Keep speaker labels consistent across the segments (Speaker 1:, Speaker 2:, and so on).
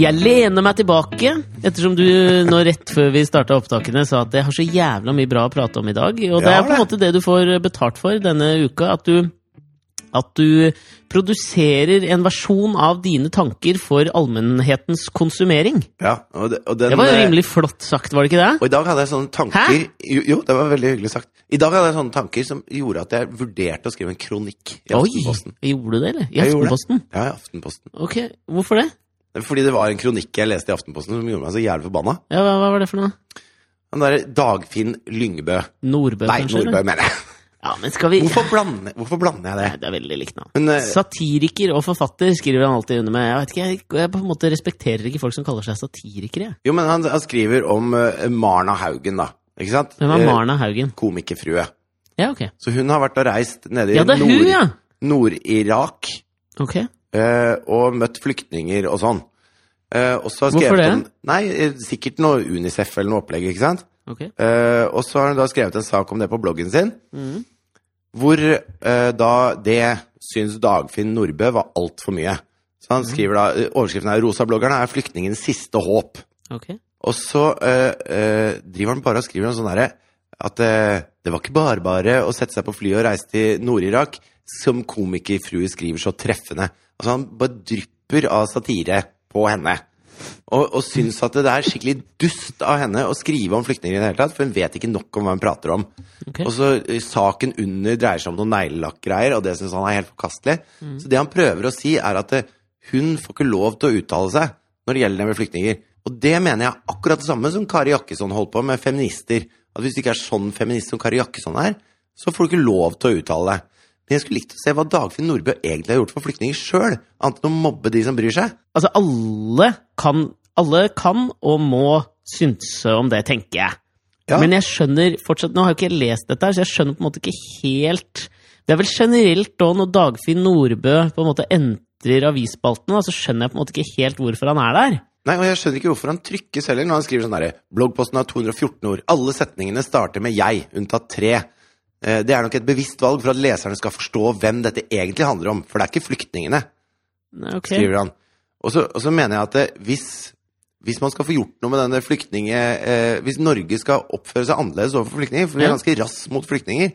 Speaker 1: Jeg lener meg tilbake, ettersom du nå rett før vi starta opptakene sa at jeg har så jævla mye bra å prate om i dag. Og det
Speaker 2: Ja,
Speaker 1: er på en
Speaker 2: det.
Speaker 1: måte det du får betalt for denne uka. At du, at du produserer en versjon av dine tanker for allmennhetens konsumering.
Speaker 2: Ja, og, det- og den,
Speaker 1: Det var jo
Speaker 2: eh,
Speaker 1: rimelig flott sagt, var det ikke det?
Speaker 2: Og i dag hadde jeg sånne tanker
Speaker 1: Hæ?
Speaker 2: jo, jo, det var veldig hyggelig sagt. I dag hadde jeg sånne tanker som gjorde at jeg vurderte å skrive en kronikk i
Speaker 1: Oi!
Speaker 2: Aftenposten.
Speaker 1: Gjorde du det, eller? I
Speaker 2: Jeg gjorde det.
Speaker 1: Aftenposten?
Speaker 2: Ja, i Aftenposten.
Speaker 1: Ok, hvorfor det?
Speaker 2: Fordi det var en kronikk jeg leste i Aftenposten som gjorde meg så jævlig forbanna.
Speaker 1: Ja, hva, hva var det for noe?
Speaker 2: Den derre Dagfinn Lyngbø.
Speaker 1: Nordbø,
Speaker 2: Nei,
Speaker 1: kanskje?
Speaker 2: Nordbø,
Speaker 1: eller?
Speaker 2: mener jeg.
Speaker 1: Ja, men skal vi...
Speaker 2: Hvorfor blander, hvorfor blander jeg det?
Speaker 1: Nei, det er veldig likt navn.
Speaker 2: Men, eh,
Speaker 1: Satiriker og forfatter skriver han alltid under med. Jeg vet ikke, jeg, jeg på en måte respekterer ikke folk som kaller seg satirikere. jeg.
Speaker 2: jo, men han, han skriver om eh, Marna Haugen, da. Ikke sant?
Speaker 1: Hvem er
Speaker 2: Eh,
Speaker 1: Marna Haugen?
Speaker 2: Komikerfrue.
Speaker 1: Ja, ok.
Speaker 2: Så hun har vært og reist nede i
Speaker 1: Ja, det er hun,
Speaker 2: Nord-
Speaker 1: ja!
Speaker 2: Nord-Irak
Speaker 1: Ok.
Speaker 2: eh, og møtt flyktninger og sånn. Eh, og så har
Speaker 1: Hvorfor
Speaker 2: skrevet
Speaker 1: det?
Speaker 2: Om, nei, eh, sikkert noe Unicef eller noe opplegg, ikke sant?
Speaker 1: ok.
Speaker 2: Eh, og så har hun da skrevet en sak om det på bloggen sin,
Speaker 1: Mm.
Speaker 2: hvor eh, da det syns Dagfinn Nordbø var altfor mye. Så
Speaker 1: Mm.
Speaker 2: han skriver da, eh, overskriften er 'Rosabloggerne er flyktningens siste håp'.
Speaker 1: ok.
Speaker 2: Og så eh, eh, driver han bare og skriver noe sånn derre at eh, det var ikke bare bare å sette seg på flyet og reise til Nord-Irak, som komikerfrue skriver så treffende. Altså han bare drypper av satire på henne. Og, og syns at det er skikkelig dust av henne å skrive om flyktninger i det hele tatt, for hun vet ikke nok om hva hun prater om.
Speaker 1: Ok.
Speaker 2: Og så eh, saken under dreier seg om noen neglelakkgreier, og det syns han er helt forkastelig. Så det han prøver å si, er at eh, hun får ikke lov til å uttale seg når det gjelder det med flyktninger. Og det mener jeg er akkurat det samme som Kari Jakkesson holdt på med feminister. At hvis du ikke er sånn feminist som Kari Jakkesson er, så får du ikke lov til å uttale deg. Men jeg skulle likt å se hva Dagfinn Nordbø egentlig har gjort for flyktninger sjøl, annet enn å mobbe de som bryr seg.
Speaker 1: Altså, alle kan, alle kan og må synse om det, tenker jeg.
Speaker 2: Ja.
Speaker 1: Men jeg skjønner fortsatt Nå har jo ikke jeg lest dette, her, så jeg skjønner på en måte ikke helt Det er vel generelt da når Dagfinn Nordbø på en måte entrer avisspaltene, da, så skjønner jeg på en måte ikke helt hvorfor han er der.
Speaker 2: Nei, og jeg skjønner ikke hvorfor han trykkes heller når han skriver sånn derre Bloggposten har 214 ord. Alle setningene starter med 'jeg', unntatt tre. Eh, Det er nok et bevisst valg for at leserne skal forstå hvem dette egentlig handler om, for det er ikke flyktningene,
Speaker 1: Ok.
Speaker 2: skriver han. Og så, og så mener jeg at det, hvis, hvis man skal få gjort noe med denne flyktninge... Eh, hvis Norge skal oppføre seg annerledes overfor flyktninger, for vi er
Speaker 1: Ja.
Speaker 2: ganske rass mot flyktninger,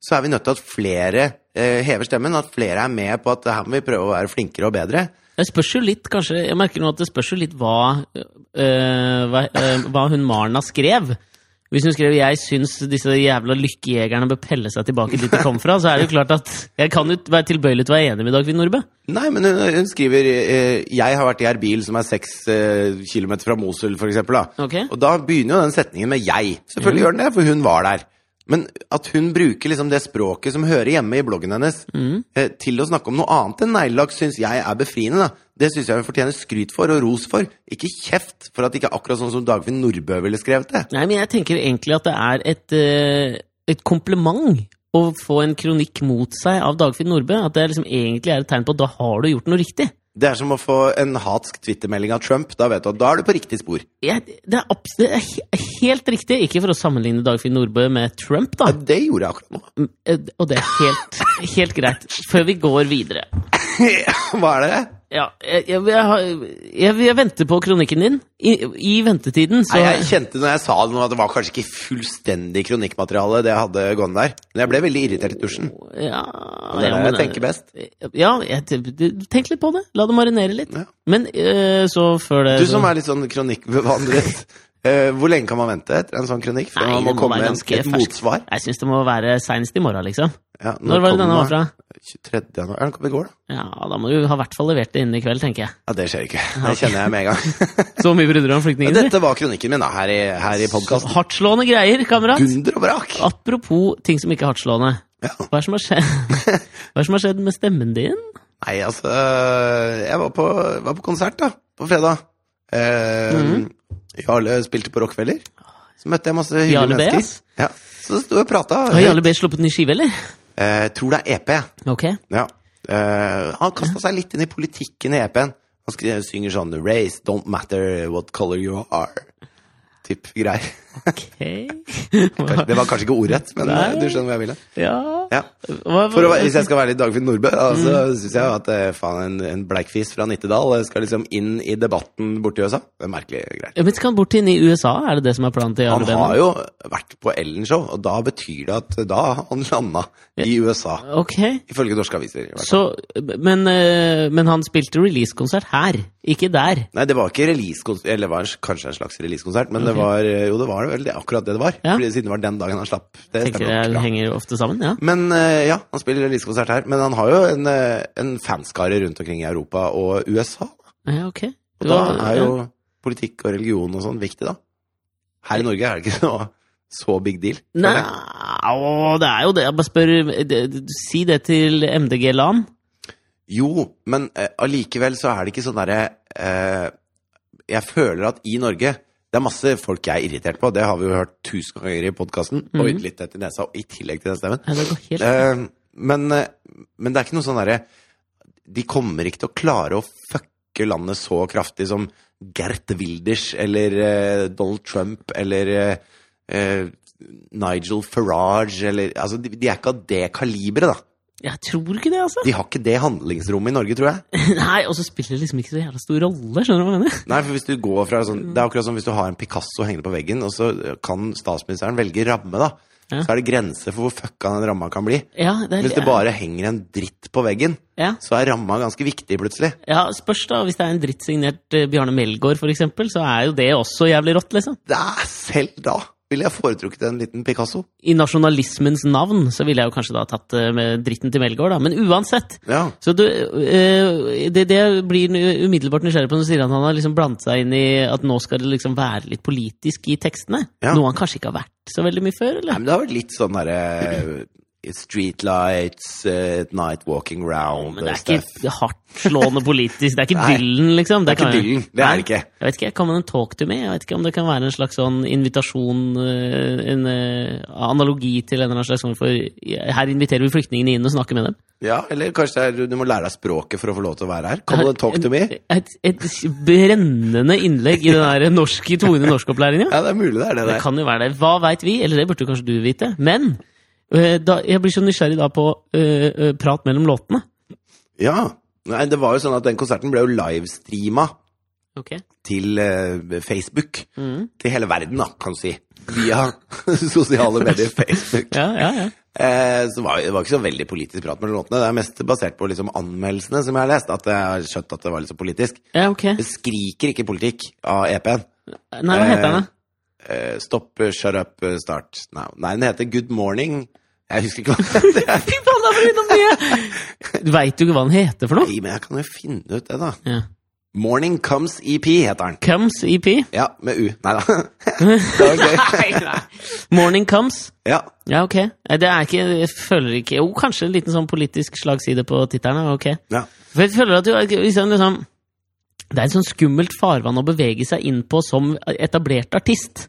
Speaker 2: så er vi nødt til at flere eh, hever stemmen, at flere er med på at her må vi prøve å være flinkere og bedre.
Speaker 1: Det spørs jo litt, kanskje Jeg merker nå at det spørs jo litt hva, øh, hva, øh, hva hun Marna skrev. Hvis hun skrev 'Jeg syns disse jævla lykkejegerne bør pelle seg tilbake dit de kom fra', så er det jo klart at jeg kan jo være tilbøyelig til å være enig med Dagfinn Nordbø.
Speaker 2: Nei, men hun, hun skriver eh, 'Jeg har vært i Erbil, som er seks eh, kilometer fra Mosul', for eksempel. Da.
Speaker 1: Ok.
Speaker 2: Og da begynner jo den setningen med 'jeg'. Selvfølgelig gjør den det, for hun var der. Men at hun bruker liksom det språket som hører hjemme i bloggen hennes, eh, til å snakke om noe annet enn neglelakk, syns jeg er befriende. da. Det syns jeg hun fortjener skryt for og ros for. Ikke kjeft for at det ikke er akkurat sånn som Dagfinn Nordbø ville skrevet det.
Speaker 1: Nei, men jeg tenker egentlig at det er et, øh, et kompliment å få en kronikk mot seg av Dagfinn Nordbø. At det liksom egentlig er et tegn på at da har du gjort noe riktig.
Speaker 2: Det er som å få en hatsk twittermelding av Trump. Da vet du at da er du på riktig spor.
Speaker 1: Jeg, det er, abs- det er he- helt riktig, ikke for å sammenligne Dagfinn Nordbø med Trump, da.
Speaker 2: Ja, det gjorde jeg akkurat nå.
Speaker 1: Mm, eh, Og det er helt, helt greit. Før vi går videre
Speaker 2: Hva er det?
Speaker 1: ja, jeg, jeg, jeg, har- jeg, jeg venter på kronikken din. I, i ventetiden, så
Speaker 2: Nei, jeg kjente når jeg sa det nå at det var kanskje ikke fullstendig kronikkmateriale det jeg hadde gående der. Men jeg ble veldig irritert i dusjen.
Speaker 1: ja,
Speaker 2: Det
Speaker 1: ja,
Speaker 2: er det
Speaker 1: men- eh,
Speaker 2: jeg tenker best.
Speaker 1: Ja, jeg, te- tenk litt på det. La det marinere litt.
Speaker 2: Ja.
Speaker 1: Men eh, så før det
Speaker 2: Du som
Speaker 1: så-
Speaker 2: er litt sånn kronikkbevandret, eh, hvor lenge kan man vente etter en sånn kronikk? For
Speaker 1: Nei,
Speaker 2: man må
Speaker 1: det må
Speaker 2: komme
Speaker 1: være
Speaker 2: med en,
Speaker 1: ganske
Speaker 2: et
Speaker 1: ferskt.
Speaker 2: motsvar.
Speaker 1: Jeg syns det må være seinest i morgen, liksom.
Speaker 2: Ja,
Speaker 1: Når var det
Speaker 2: kom
Speaker 1: denne var fra?
Speaker 2: 23. januar. Ja, Den kom i går, da.
Speaker 1: Ja, Da må du ha i hvert fall levert det innen i kveld, tenker jeg.
Speaker 2: Ja, det skjer ikke. Det kjenner jeg med en gang.
Speaker 1: Så mye bryr du deg om flyktningene?
Speaker 2: Dette var kronikken min da, her i, her i podkasten.
Speaker 1: Hardtslående greier, kamerat.
Speaker 2: Dunder og vrak!
Speaker 1: Apropos ting som ikke er hardtslående.
Speaker 2: Ja.
Speaker 1: Hva er det som har skjedd? Hva er det som har skjedd med stemmen din?
Speaker 2: Nei, altså eh, Jeg var på, var på konsert, da. På fredag. Eh,
Speaker 1: Mhm.
Speaker 2: Jarle spilte på Rockefeller. Så møtte jeg masse hyggelige
Speaker 1: Jarle B,
Speaker 2: mennesker.
Speaker 1: ass.
Speaker 2: Ja, så sto jeg og prata.
Speaker 1: Har Jarle B sluppet ny skive, eller?
Speaker 2: Eh, tror det er EP.
Speaker 1: Ok.
Speaker 2: Ja. Eh, han kasta seg litt inn i politikken i E EP-en. Han skri- synger sånn 'Race don't matter what color you are'. Typ greier.
Speaker 1: Ok
Speaker 2: Kanskje- Det var kanskje ikke ordrett, men
Speaker 1: Nei.
Speaker 2: eh, du skjønner hva jeg ville.
Speaker 1: Ja,
Speaker 2: Ja.
Speaker 1: Hva-
Speaker 2: For å, være- hvis jeg skal være litt Dagfinn Nordbø, da, så syns jeg jo at eh, faen, en, en bleikfis fra Nittedal eh, skal liksom inn i debatten borti USA. Det er merkelig greit.
Speaker 1: Ja, Men skal han bort inn i USA? Er det det som er planen til
Speaker 2: Han
Speaker 1: Jarle
Speaker 2: har
Speaker 1: Benno?
Speaker 2: jo vært på Ellen-show, og da betyr det at da har han landa i USA.
Speaker 1: Ok,
Speaker 2: Ifølge norske aviser. i hvert fall.
Speaker 1: så, men, eh, men han spilte releasekonsert her, ikke der.
Speaker 2: Nei, det var ikke releasekonsert, eller det var en, kanskje en slags releasekonsert, men det var eh, jo, det var vel det, akkurat det det var.
Speaker 1: Ja.
Speaker 2: Fordi, siden det var den dagen han slapp. Det
Speaker 1: Tenker
Speaker 2: stemmer nok,
Speaker 1: jeg
Speaker 2: ja.
Speaker 1: henger ofte sammen, ja.
Speaker 2: Men eh, ja, han spiller releasekonsert her. Men han har jo en, eh, en fanskare rundt omkring i Europa og USA.
Speaker 1: ja ok.
Speaker 2: Og da
Speaker 1: Hva-
Speaker 2: er jo politikk og religion og sånn viktig, da. Her i Norge er det ikke så, så big deal.
Speaker 1: Nei,
Speaker 2: føler jeg.
Speaker 1: å, det er jo det. Jeg bare spør det- det- Si det til MDG Lan.
Speaker 2: Jo, men eh, allikevel så er det ikke sånn derre eh, Jeg føler at i Norge Det er masse folk jeg er irritert på, det har vi jo hørt tusen ganger i podkasten. Og litt tett i nesa, og i tillegg til den stemmen.
Speaker 1: Ja, det går helt
Speaker 2: Eh, men, eh, men det er ikke noe sånn derre De kommer ikke til å klare å fucke landet så kraftig som Gert Wilders eller eh, Donald Trump eller eh, eh, Nigel Farage eller Altså, de, de er ikke av det kaliberet, da.
Speaker 1: Jeg tror ikke det, altså.
Speaker 2: De har ikke det handlingsrommet i Norge, tror jeg.
Speaker 1: Nei, Og så spiller det liksom ikke så jævla stor rolle, skjønner du hva jeg mener?
Speaker 2: Nei, for hvis du går fra sånn Det er akkurat som hvis du har en Picasso hengende på veggen, og så kan statsministeren velge ramme, da.
Speaker 1: Ja.
Speaker 2: Så er det grenser for hvor fucka den ramma kan bli.
Speaker 1: Ja, det er,
Speaker 2: Hvis det bare henger en dritt på veggen,
Speaker 1: ja.
Speaker 2: så er ramma ganske viktig plutselig.
Speaker 1: ja, spørs da. Hvis det er en drittsignert eh, Bjarne Melgaard, for eksempel, så er jo det også jævlig rått, liksom.
Speaker 2: Det er selv da ville jeg foretrukket en liten Picasso.
Speaker 1: i nasjonalismens navn, så ville jeg jo kanskje da tatt eh, med dritten til Melgaard, da. Men uansett.
Speaker 2: Ja.
Speaker 1: Så du, eh, det, det blir nu- umiddelbart nysgjerrig på når du sier at han har liksom blandet seg inn i at nå skal det liksom være litt politisk i tekstene.
Speaker 2: Ja.
Speaker 1: Noe han kanskje ikke har vært så veldig mye før,
Speaker 2: Nei,
Speaker 1: eller?
Speaker 2: men det har vært litt sånn derre Streetlights, eh, night walking round
Speaker 1: Men det er
Speaker 2: stuff.
Speaker 1: ikke hardtslående politisk. Det er ikke
Speaker 2: Nei.
Speaker 1: Dylan, liksom.
Speaker 2: Det er ikke
Speaker 1: kan-
Speaker 2: Dylan, det er det
Speaker 1: Nei.
Speaker 2: ikke.
Speaker 1: Jeg vet ikke, Kan man en talk to me? Jeg vet ikke om det kan være en slags sånn invitasjon eh, En eh, analogi til en eller annen slags form for Her inviterer vi flyktningene inn og snakker med dem.
Speaker 2: Ja, eller kanskje det er, du må lære deg språket for å få lov til å være her. Come on and talk to me.
Speaker 1: Et, et brennende innlegg i den der norske, tvungne norskopplæringen.
Speaker 2: Ja, det er mulig det er det
Speaker 1: Det
Speaker 2: der.
Speaker 1: kan jo være det. Hva veit vi? Eller det burde kanskje du vite. Men øh, da, jeg blir så nysgjerrig da på øh, øh, prat mellom låtene.
Speaker 2: Ja. Nei, det var jo sånn at den konserten ble jo livestreama
Speaker 1: Ok.
Speaker 2: til eh, Facebook.
Speaker 1: Mm.
Speaker 2: Til hele verden, da, kan du si. Via sosiale medier, Facebook.
Speaker 1: Ja, ja, ja.
Speaker 2: Eh, så var, det var ikke så veldig politisk prat mellom låtene. Det er mest basert på liksom anmeldelsene som jeg har lest, at jeg har skjønt at det var litt så politisk.
Speaker 1: ja ok.
Speaker 2: Det skriker ikke politikk av EP-en.
Speaker 1: Nei, hva heter den, da?
Speaker 2: Eh, stopp, shut up, start now. Nei, den heter Good Morning. Jeg husker ikke hva det er.
Speaker 1: Fy faen, da blir det noe mye! Du veit jo ikke hva den heter for noe?
Speaker 2: Nei, Men jeg kan jo finne ut det, da.
Speaker 1: Ja. E
Speaker 2: Morning Comes EP heter den.
Speaker 1: Comes EP?
Speaker 2: Ja, med U. Nei da. Det var gøy.
Speaker 1: Nei, nei. Morning Comes?
Speaker 2: Ja.
Speaker 1: Ja, ok. Nei, Det er ikke Jeg føler ikke Jo, kanskje en liten sånn politisk slagside på tittelen. Ok.
Speaker 2: ja.
Speaker 1: For jeg føler at du, liksom, liksom, Det er et sånn skummelt farvann å bevege seg inn på som etablert artist.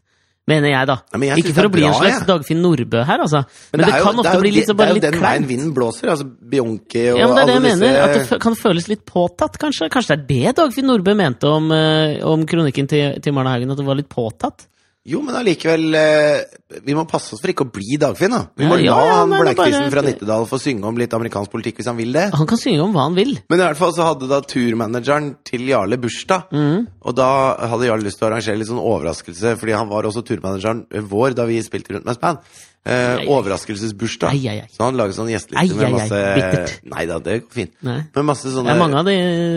Speaker 1: Mener jeg, da.
Speaker 2: Ja, men jeg
Speaker 1: ikke
Speaker 2: synes
Speaker 1: for å
Speaker 2: det er
Speaker 1: bli en
Speaker 2: bra,
Speaker 1: slags
Speaker 2: jeg.
Speaker 1: Dagfinn Nordbø her, altså. Men, det,
Speaker 2: er jo-
Speaker 1: kan ofte
Speaker 2: er jo
Speaker 1: bli
Speaker 2: de-
Speaker 1: litt, så bare
Speaker 2: Det
Speaker 1: litt
Speaker 2: er jo den veien
Speaker 1: kleint.
Speaker 2: vinden blåser. Altså Bionke og
Speaker 1: Ja, men det er det jeg
Speaker 2: alle
Speaker 1: mener. At det
Speaker 2: disse
Speaker 1: fø- kan føles litt påtatt, kanskje. Kanskje det er det Dagfinn Nordbø mente om, eh, om kronikken til, til Marna Haugen, at det var litt påtatt?
Speaker 2: Jo, men allikevel eh, Vi må passe oss for ikke å bli Dagfinn, da. Vi
Speaker 1: Ja,
Speaker 2: må
Speaker 1: ja,
Speaker 2: la
Speaker 1: ja,
Speaker 2: han
Speaker 1: nei, det er
Speaker 2: blekkfisen
Speaker 1: bare-
Speaker 2: fra Nittedal få synge om litt amerikansk politikk hvis han vil det.
Speaker 1: Han kan synge om hva han vil.
Speaker 2: Men i hvert fall så hadde da turmanageren til Jarle bursdag.
Speaker 1: Mm.
Speaker 2: Og da hadde Jarle lyst til å arrangere litt sånn overraskelse, fordi han var også turmanageren vår da vi spilte rundt med Span. Eh, overraskelsesbursdag.
Speaker 1: Ai, ai, ai.
Speaker 2: Så han laget sånn gjesteliste
Speaker 1: Ai,
Speaker 2: med
Speaker 1: ai, ai.
Speaker 2: masse
Speaker 1: Bittert.
Speaker 2: Nei da, det går fint.
Speaker 1: Nei.
Speaker 2: Med masse
Speaker 1: Det
Speaker 2: sånne
Speaker 1: er mange av de,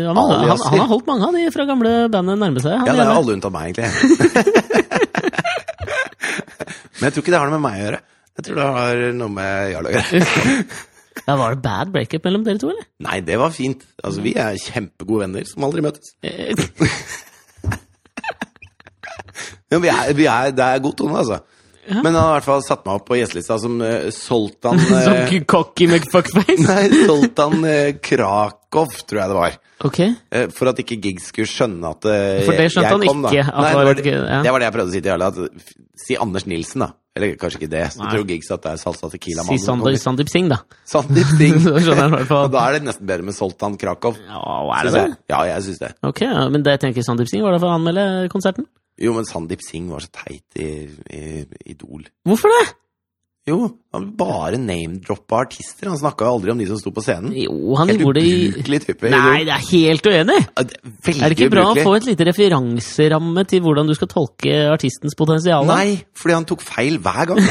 Speaker 1: han, har- han, han har holdt mange av de fra gamle bandet nærme seg. Han
Speaker 2: Ja, det er
Speaker 1: gjerne.
Speaker 2: alle unntatt meg, egentlig. Men jeg tror ikke det har noe med meg å gjøre. Jeg tror det har noe med Jarl å gjøre.
Speaker 1: Ja, Var det bad breakup mellom dere to, eller?
Speaker 2: Nei, det var fint. Altså, vi er kjempegode venner som aldri møtes.
Speaker 1: Eh,
Speaker 2: Men vi er, vi er, det er god tone, altså. Men han har i hvert fall satt meg opp på gjestelista som eh, Soltan
Speaker 1: Som
Speaker 2: eh,
Speaker 1: cocky McFuckface?
Speaker 2: Nei, Soltan eh, Krakow, tror jeg det var.
Speaker 1: Ok.
Speaker 2: Eh, For at ikke Giggs skulle skjønne at eh,
Speaker 1: For det skjønte han
Speaker 2: kom, da.
Speaker 1: ikke, at
Speaker 2: Nei,
Speaker 1: det
Speaker 2: det,
Speaker 1: var
Speaker 2: var,
Speaker 1: et- ja.
Speaker 2: det var det jeg prøvde å si til Jarle. at, f- Si Anders Nilsen, da. Eller kanskje ikke det. Så
Speaker 1: Nei.
Speaker 2: tror Giggs at det er Salsa
Speaker 1: Si Sander,
Speaker 2: Tequila-mannen.
Speaker 1: Sandeep Singh, da.
Speaker 2: Sandeep
Speaker 1: Så
Speaker 2: Singh.
Speaker 1: skjønner jeg i hvert
Speaker 2: Og
Speaker 1: fall.
Speaker 2: da er det nesten bedre med Soltan Krakow.
Speaker 1: Ja, er det det?
Speaker 2: synes jeg. Ja, jeg syns det.
Speaker 1: Ok, ja, men det tenker Sandeep Singh var da for å anmelde konserten?
Speaker 2: Jo, men Sandeep Singh var så teit i, i Idol.
Speaker 1: Hvorfor det?
Speaker 2: Jo, han bare name-droppa artister. Han snakka aldri om de som sto på scenen.
Speaker 1: Jo, han
Speaker 2: Helt
Speaker 1: gjorde det i
Speaker 2: ubrukelig type. i
Speaker 1: Nei,
Speaker 2: Idol.
Speaker 1: det er helt uenig!
Speaker 2: Ja, det er Veldig
Speaker 1: Er det ikke bra å
Speaker 2: ubrukelig.
Speaker 1: få et lite referanseramme til hvordan du skal tolke artistens potensial? da?
Speaker 2: Nei, fordi han tok feil hver gang.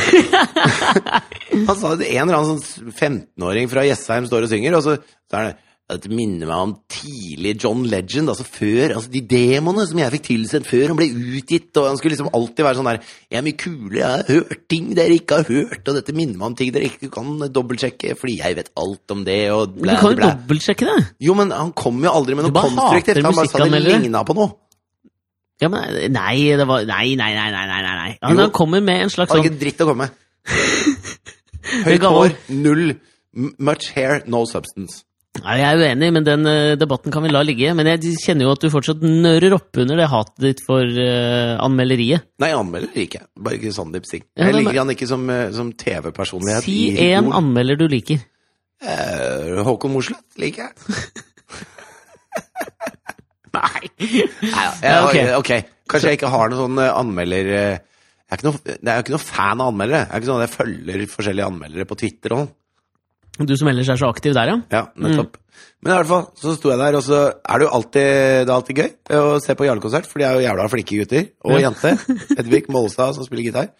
Speaker 2: han sa at en eller annen sånn 15-åring fra Jessheim står og synger, og så, så er det Dette minner meg om tidlig John Legend, altså før Altså de demoene som jeg fikk tilsendt før han ble utgitt, og han skulle liksom alltid være sånn der Jeg er mye kulere, jeg har hørt ting dere ikke har hørt, og dette minner meg om ting dere ikke kan dobbeltsjekke, fordi jeg vet alt om det, og
Speaker 1: Du
Speaker 2: blæ,
Speaker 1: kan jo
Speaker 2: blæ.
Speaker 1: dobbeltsjekke det!
Speaker 2: Jo, men han kom jo aldri med
Speaker 1: Du
Speaker 2: noe
Speaker 1: bare
Speaker 2: konstruktivt.
Speaker 1: hater
Speaker 2: Han bare sa det
Speaker 1: musikkanmeldere.
Speaker 2: ligna på noe.
Speaker 1: Ja, men nei, det var Nei, nei, nei, nei, nei, nei, nei. Han,
Speaker 2: Jo.
Speaker 1: han kommer med en slags
Speaker 2: Har
Speaker 1: sånn
Speaker 2: ikke en dritt å komme med.
Speaker 1: Det
Speaker 2: Høyt
Speaker 1: ga
Speaker 2: hår, null. M- Much hair, no substance.
Speaker 1: Nei, jeg er uenig, men den eh, debatten kan vi la ligge. Men jeg kjenner jo at du fortsatt nører opp under det hatet ditt for eh, anmelderiet.
Speaker 2: Nei, jeg anmelder liker jeg. Bare ikke Sandeep Singh.
Speaker 1: Ja,
Speaker 2: Jeg
Speaker 1: men-
Speaker 2: liker han ikke som, eh, som TV-personlighet.
Speaker 1: Si
Speaker 2: i
Speaker 1: én
Speaker 2: Idol.
Speaker 1: anmelder du liker.
Speaker 2: Eh, Håkon Mosleth liker jeg.
Speaker 1: Nei!
Speaker 2: Ja, eh,
Speaker 1: ok.
Speaker 2: ok. Kanskje jeg ikke har noen sånn eh, anmelder... eh, Jeg er, ikke noe, jeg er jo ikke noe fan av anmeldere. Jeg er ikke sånn at jeg følger forskjellige anmeldere på Twitter. og sånn.
Speaker 1: Du som ellers er så aktiv der, ja.
Speaker 2: Ja, nettopp. Men i hvert fall, så sto jeg der, og så er det jo alltid, det er alltid gøy eh, å se på Jarle-konsert, for de er jo jævla flinke gutter, og
Speaker 1: Ja.
Speaker 2: jente, Hedvig Målestad som spiller gitar.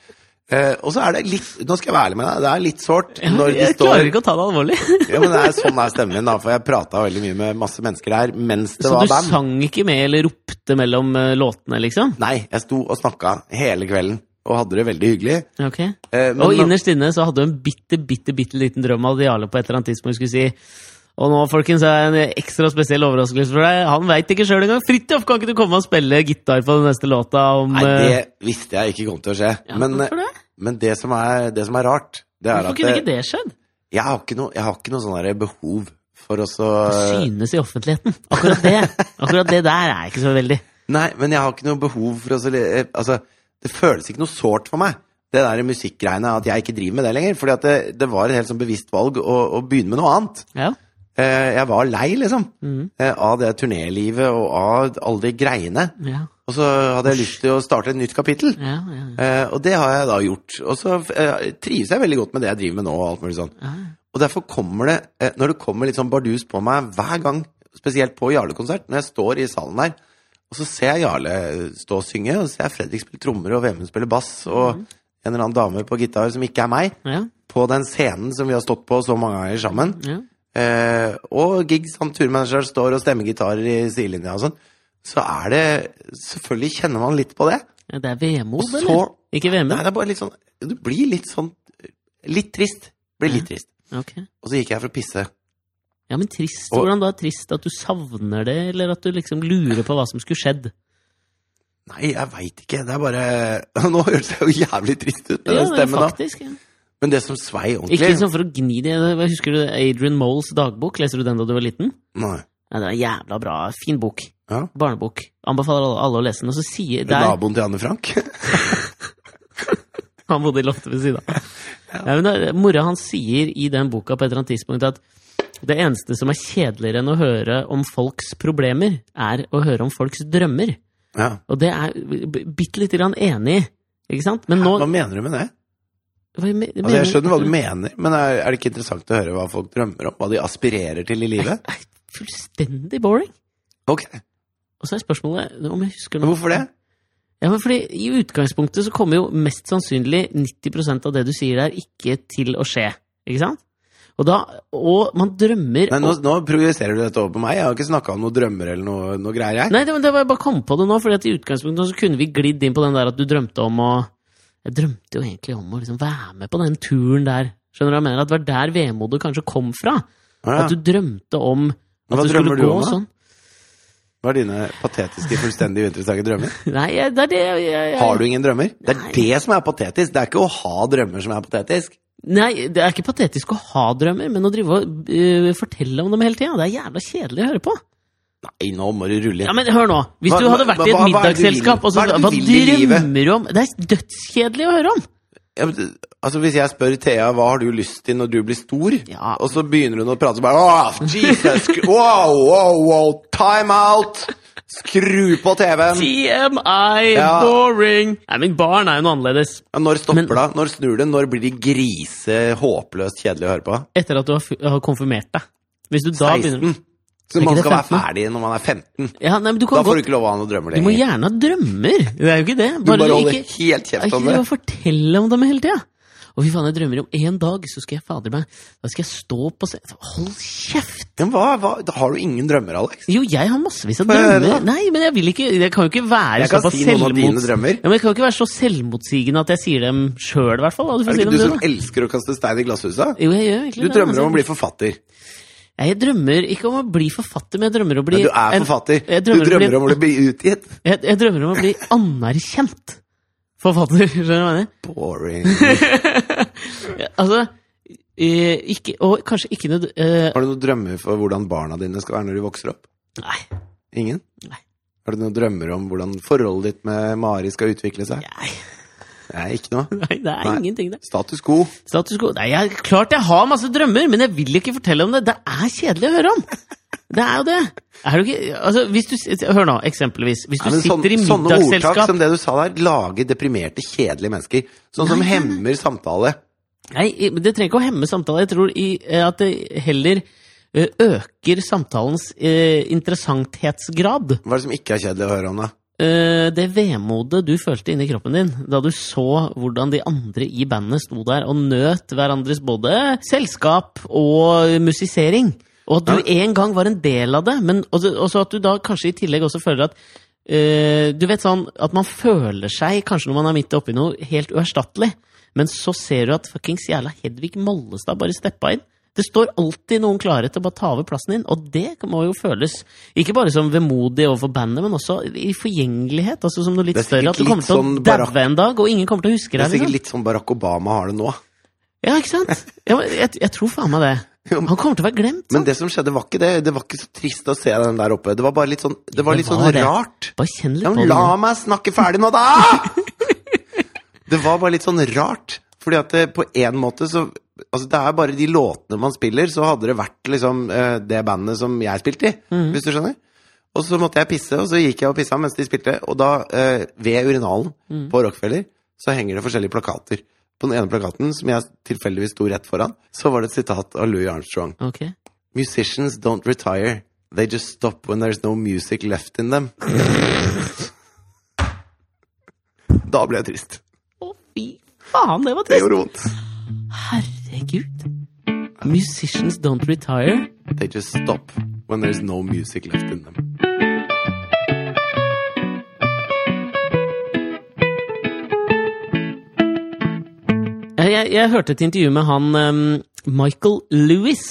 Speaker 2: Eh, og så er det litt, nå skal jeg være ærlig med deg, det er litt sårt når de
Speaker 1: Jeg klarer
Speaker 2: står
Speaker 1: ikke å ta det alvorlig.
Speaker 2: Ja, men det er sånn er stemmen min, da, for jeg prata veldig mye med masse mennesker der mens det
Speaker 1: Så
Speaker 2: var
Speaker 1: du
Speaker 2: band.
Speaker 1: sang ikke med eller ropte mellom eh, låtene, liksom?
Speaker 2: Nei, jeg sto og snakka hele kvelden, og hadde det veldig hyggelig.
Speaker 1: Ok.
Speaker 2: Eh,
Speaker 1: Og innerst inne så hadde du en bitte, bitte bitte liten drøm av at Jarle på et eller annet tidspunkt skulle si og nå folkens, er det en ekstra spesiell overraskelse for deg. Han veit ikke sjøl engang. Fridtjof, kan ikke du komme og spille gitar på den neste låta om
Speaker 2: Nei,
Speaker 1: eh,
Speaker 2: det visste jeg ikke kom til å skje.
Speaker 1: Ja,
Speaker 2: men
Speaker 1: hvorfor det?
Speaker 2: men det, som er, det som er rart, det er
Speaker 1: Hvorfor
Speaker 2: at
Speaker 1: kunne
Speaker 2: eh,
Speaker 1: ikke det skjedd?
Speaker 2: Jeg har ikke noe, jeg har ikke noe sånn der behov for å så
Speaker 1: Synes i offentligheten. Akkurat det Akkurat det der er ikke så veldig.
Speaker 2: Nei, men jeg har ikke noe behov for å så eh, Altså, det føles ikke noe sårt for meg, det der musikkgreiene, at jeg ikke driver med det lenger. Fordi at det, det var et helt sånn bevisst valg å, å begynne med noe annet.
Speaker 1: Ja.
Speaker 2: Eh, Jeg var lei, liksom,
Speaker 1: Mhm.
Speaker 2: eh, av det turnélivet og av alle de greiene.
Speaker 1: Ja,
Speaker 2: Og så hadde jeg lyst til å starte et nytt kapittel.
Speaker 1: ja, ja, ja.
Speaker 2: Eh, og det har jeg da gjort. Og så eh, trives jeg veldig godt med det jeg driver med nå. Og alt mulig sånn. Og derfor kommer det, eh, når det kommer litt sånn bardus på meg hver gang, spesielt på Jarle-konsert, når jeg står i salen der, og så ser jeg Jarle eh, stå og synge, og så ser jeg Fredrik spille trommer, og Vemund spille bass, og en eller annen dame på gitar som ikke er meg,
Speaker 1: ja,
Speaker 2: på den scenen som vi har stått på så mange ganger sammen.
Speaker 1: ja.
Speaker 2: Eh, og gigs, han turmanageren står og stemmer gitarer i sidelinja og sånn. Så er det Selvfølgelig kjenner man litt på det.
Speaker 1: Ja, Det er vemod,
Speaker 2: Og så-
Speaker 1: eller? Ikke
Speaker 2: Nei,
Speaker 1: vemod?
Speaker 2: det er bare litt sånn Du blir litt sånn Litt trist. Blir litt trist.
Speaker 1: Ok.
Speaker 2: Og så gikk jeg for å pisse.
Speaker 1: Ja, men trist.
Speaker 2: Og-
Speaker 1: Hvordan da? Trist at du savner det, eller at du liksom lurer på hva som skulle skjedd?
Speaker 2: Nei, jeg veit ikke. Det er bare Nå høres jeg jo jævlig trist ut med
Speaker 1: Ja,
Speaker 2: den stemmen, da.
Speaker 1: faktisk. Ja.
Speaker 2: Men det som svei
Speaker 1: Ikke
Speaker 2: ordentlig
Speaker 1: liksom for å gni det Hva Husker du Adrian Moles dagbok? Leser du den da du var liten?
Speaker 2: Nei.
Speaker 1: Ja, det er en jævla bra. Fin bok.
Speaker 2: Ja.
Speaker 1: Barnebok. Anbefaler alle, alle å lese den. Og så sier der
Speaker 2: Naboen til Anne Frank?
Speaker 1: Han bodde i loftet ved siden av. Ja, men da- Mora hans sier i den boka på et eller annet tidspunkt at det eneste som er kjedeligere enn å høre om folks problemer, er å høre om folks drømmer.
Speaker 2: ja.
Speaker 1: Og det er jeg b- bitte lite grann enig i. Ikke sant? Men nå
Speaker 2: Hva mener du med det?
Speaker 1: hva me-
Speaker 2: Altså, jeg
Speaker 1: mener-
Speaker 2: skjønner hva du mener, men er, er det ikke interessant å høre hva folk drømmer om? Hva de aspirerer til i livet?
Speaker 1: Det er Fullstendig boring.
Speaker 2: Ok,
Speaker 1: Og så er spørsmålet om jeg husker
Speaker 2: men
Speaker 1: noe.
Speaker 2: Hvorfor det?
Speaker 1: Ja, men fordi I utgangspunktet så kommer jo mest sannsynlig 90 av det du sier der, ikke til å skje. Ikke sant? Og, da, og man drømmer
Speaker 2: Nei,
Speaker 1: om-
Speaker 2: nå, nå projiserer du dette over på meg. Jeg har ikke snakka om noen drømmer eller noe, noe greier. Jeg.
Speaker 1: Nei, det, var- det var jeg bare kom på det nå, fordi at i utgangspunktet nå så kunne vi glidd inn på den der at du drømte om å Jeg drømte jo egentlig om å liksom være med på den turen der. Skjønner du hva jeg mener? At det var der vemodet kanskje kom fra.
Speaker 2: Ja.
Speaker 1: At du drømte om at
Speaker 2: Hva
Speaker 1: du skulle
Speaker 2: drømmer du
Speaker 1: gå
Speaker 2: om, da?
Speaker 1: sånn.
Speaker 2: Hva er dine patetiske, fullstendig uinteressante drømmer?
Speaker 1: Nei, jeg- det er det jeg, jeg, jeg
Speaker 2: Har du ingen drømmer? Det er
Speaker 1: Nei.
Speaker 2: det som er patetisk. Det er ikke å ha drømmer som er patetisk.
Speaker 1: Nei, det er ikke patetisk å ha drømmer, men å drive og øh, fortelle om dem hele tida, det er jævla kjedelig å høre på.
Speaker 2: Nei, nå må du rulle
Speaker 1: Ja,
Speaker 2: inn.
Speaker 1: men hør nå. Hvis
Speaker 2: Hva-
Speaker 1: du hadde vært
Speaker 2: hva-
Speaker 1: i et
Speaker 2: hva- hva er det du
Speaker 1: middagsselskap,
Speaker 2: vil?
Speaker 1: og så
Speaker 2: Hva er det
Speaker 1: hva
Speaker 2: du vil i
Speaker 1: drømmer du om? Det er dødskjedelig å høre om!
Speaker 2: Ja, men, altså, hvis jeg spør Thea hva har du lyst til når du blir stor,
Speaker 1: Ja.
Speaker 2: og så begynner hun å prate så bare Åh, Jesus, wow, wow, wow, time out! Skru på TV-en!
Speaker 1: TMI!
Speaker 2: Ja.
Speaker 1: Boring! Nei, men barn er jo noe annerledes.
Speaker 2: Ja, Når stopper det? Når snur det? Når blir de grise håpløst kjedelige å høre på?
Speaker 1: Etter at du har, fu- har konfirmert deg. Hvis du da begynner
Speaker 2: 16. Så
Speaker 1: Er ikke
Speaker 2: man
Speaker 1: det
Speaker 2: skal være
Speaker 1: 15?
Speaker 2: ferdig når man er 15.
Speaker 1: ja, nei, men du, kan
Speaker 2: Da får du
Speaker 1: godt,
Speaker 2: ikke lov å ha noen drømmer
Speaker 1: du må
Speaker 2: lenger.
Speaker 1: gjerne ha drømmer! Det er jo ikke det.
Speaker 2: Du bare holder
Speaker 1: ikke,
Speaker 2: helt
Speaker 1: Jeg
Speaker 2: kjeft
Speaker 1: ikke
Speaker 2: om
Speaker 1: driver
Speaker 2: det.
Speaker 1: og forteller om dem hele tida. Og fy faen, jeg drømmer om en dag, så skal jeg fader meg Da skal jeg stå på scenen Hold kjeft!
Speaker 2: Men hva, hva, da har du ingen drømmer, Alex?
Speaker 1: Jo, jeg har massevis av
Speaker 2: Få høre,
Speaker 1: drømmer.
Speaker 2: da.
Speaker 1: Nei, men jeg vil ikke Jeg kan jo ikke være
Speaker 2: Jeg kan
Speaker 1: såpass
Speaker 2: si noen av dine
Speaker 1: selvmots-
Speaker 2: drømmer.
Speaker 1: Ja, men jeg kan jo ikke være så selvmotsigende at jeg sier dem sjøl, i hvert fall. da. Du får
Speaker 2: Er det
Speaker 1: si
Speaker 2: ikke
Speaker 1: dem du,
Speaker 2: du som
Speaker 1: da.
Speaker 2: elsker å kaste stein i glasshuset?
Speaker 1: Jo, jeg gjør egentlig
Speaker 2: Du
Speaker 1: det,
Speaker 2: drømmer
Speaker 1: altså.
Speaker 2: om å bli forfatter.
Speaker 1: Nei, Jeg drømmer ikke om å bli forfatter, men jeg drømmer om å bli
Speaker 2: Men du er
Speaker 1: en-
Speaker 2: forfatter.
Speaker 1: jeg
Speaker 2: Du
Speaker 1: drømmer om å bli-
Speaker 2: drømmer om å bli utgitt.
Speaker 1: Jeg, jeg drømmer om å bli anerkjent forfatter, skjønner du hva jeg mener?
Speaker 2: Boring.
Speaker 1: Ja, Altså, eh, ikke, og kanskje ikke nød... eh,
Speaker 2: Har du noen drømmer for hvordan barna dine skal være når de vokser opp?
Speaker 1: nei,
Speaker 2: Ingen?
Speaker 1: Nei.
Speaker 2: Har du noen drømmer om hvordan forholdet ditt med Mari skal utvikle seg?
Speaker 1: nei,
Speaker 2: Nei, ikke noe.
Speaker 1: nei, det er
Speaker 2: Nei.
Speaker 1: ingenting, det.
Speaker 2: Status quo.
Speaker 1: Status quo. Nei, jeg, klart jeg har masse drømmer, men jeg vil ikke fortelle om det. Det er kjedelig å høre om. Det er jo det. Er du ikke, altså, hvis du, s- hør nå, eksempelvis. Hvis du
Speaker 2: Nei, men sånn-
Speaker 1: sitter i
Speaker 2: sånne ordtak
Speaker 1: middagsselskap
Speaker 2: som det du sa der, lager deprimerte, kjedelige mennesker. Sånn som hemmer samtale.
Speaker 1: Nei, i- men det trenger ikke å hemme samtalen. Jeg tror i, eh, at det heller eh, øker samtalens eh, interessanthetsgrad.
Speaker 2: Hva er det som ikke er kjedelig å høre om, da?
Speaker 1: Eh, det vemodet du følte inni kroppen din da du så hvordan de andre i bandet sto der og nøt hverandres både selskap og musisering. Og at du en gang var en del av det, men og så- og så at du da kanskje i tillegg også føler at eh, Du vet sånn at man føler seg, kanskje når man er midt oppi noe, helt uerstattelig. Men så ser du at fuckings jævla Hedvig Mollestad bare steppa inn. Det står alltid noen klare til å bare ta over plassen din, og det må jo føles ikke bare som vemodig overfor bandet, men også i forgjengelighet. altså som noe litt
Speaker 2: Det er sikkert
Speaker 1: større, At du kommer
Speaker 2: litt
Speaker 1: til å
Speaker 2: sånn barakk-
Speaker 1: daue en dag, og ingen kommer til å huske
Speaker 2: Det er
Speaker 1: deg.
Speaker 2: sikkert
Speaker 1: Liksom.
Speaker 2: litt sånn Barack Obama har det nå.
Speaker 1: Ja, ikke sant? Ja, men jeg, jeg tror faen meg det.
Speaker 2: Jo,
Speaker 1: Han kommer til å være glemt.
Speaker 2: Men det som skjedde, var ikke det. Det var ikke så trist å se den der oppe. Det var bare litt sånn, det var
Speaker 1: Det
Speaker 2: litt sånn
Speaker 1: var det.
Speaker 2: rart.
Speaker 1: Bare kjenn litt
Speaker 2: Ja,
Speaker 1: på
Speaker 2: men
Speaker 1: det.
Speaker 2: la
Speaker 1: nå.
Speaker 2: meg snakke ferdig nå, da! Det var bare litt sånn rart. Fordi at det, på en måte så Altså, det er bare de låtene man spiller, så hadde det vært liksom eh, det bandet som jeg spilte i, hvis du skjønner. Og så måtte jeg pisse, og så gikk jeg og pissa mens de spilte. Og da, eh, ved urinalen på Rockefeller, så henger det forskjellige plakater. På den ene plakaten, som jeg tilfeldigvis sto rett foran, så var det et sitat av Louis Armstrong.
Speaker 1: Ok.
Speaker 2: Musicians don't retire. They just stop when there's no music left in them. Da ble jeg trist.
Speaker 1: Å, fy faen, det var
Speaker 2: Det
Speaker 1: trist!
Speaker 2: gjorde vondt.
Speaker 1: Herregud. Musicians don't retire.
Speaker 2: They just stop when there's no music left in them.
Speaker 1: Jeg, jeg, jeg hørte et intervju med han ehm, Michael Lewis.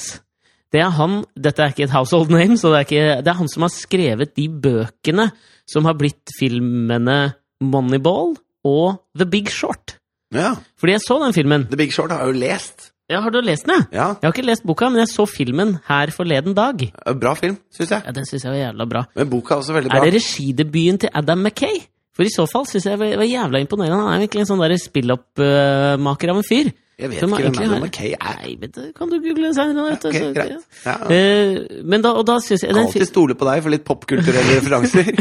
Speaker 1: Det er han, Dette er ikke et household name, så det er, ikke, det er han som har skrevet de bøkene som har blitt filmene Moneyball og The Big Short.
Speaker 2: Ja,
Speaker 1: Fordi jeg så den filmen.
Speaker 2: The Big Short har jeg jo lest.
Speaker 1: Ja, har du lest den? ja?
Speaker 2: Ja,
Speaker 1: Jeg har ikke lest boka, men jeg så filmen her forleden dag.
Speaker 2: Bra film, syns jeg.
Speaker 1: Ja, Den syns jeg var jævla bra.
Speaker 2: Men boka er også veldig
Speaker 1: Er
Speaker 2: bra.
Speaker 1: det regidebuten til Adam McKay? For i så fall syns jeg det var jævla imponerende. Han er virkelig en sånn der spilloppmaker av en fyr.
Speaker 2: Jeg vet
Speaker 1: Som
Speaker 2: ikke hvem
Speaker 1: egentlig
Speaker 2: Adam
Speaker 1: har-
Speaker 2: McKay er.
Speaker 1: Nei, men det kan du google senere. vet du,
Speaker 2: Ok,
Speaker 1: så- ja.
Speaker 2: greit. Ja, ja.
Speaker 1: Eh, men da, og da syns jeg
Speaker 2: Kan
Speaker 1: den
Speaker 2: alltid
Speaker 1: fi-
Speaker 2: stole på deg for litt popkulturelle referanser.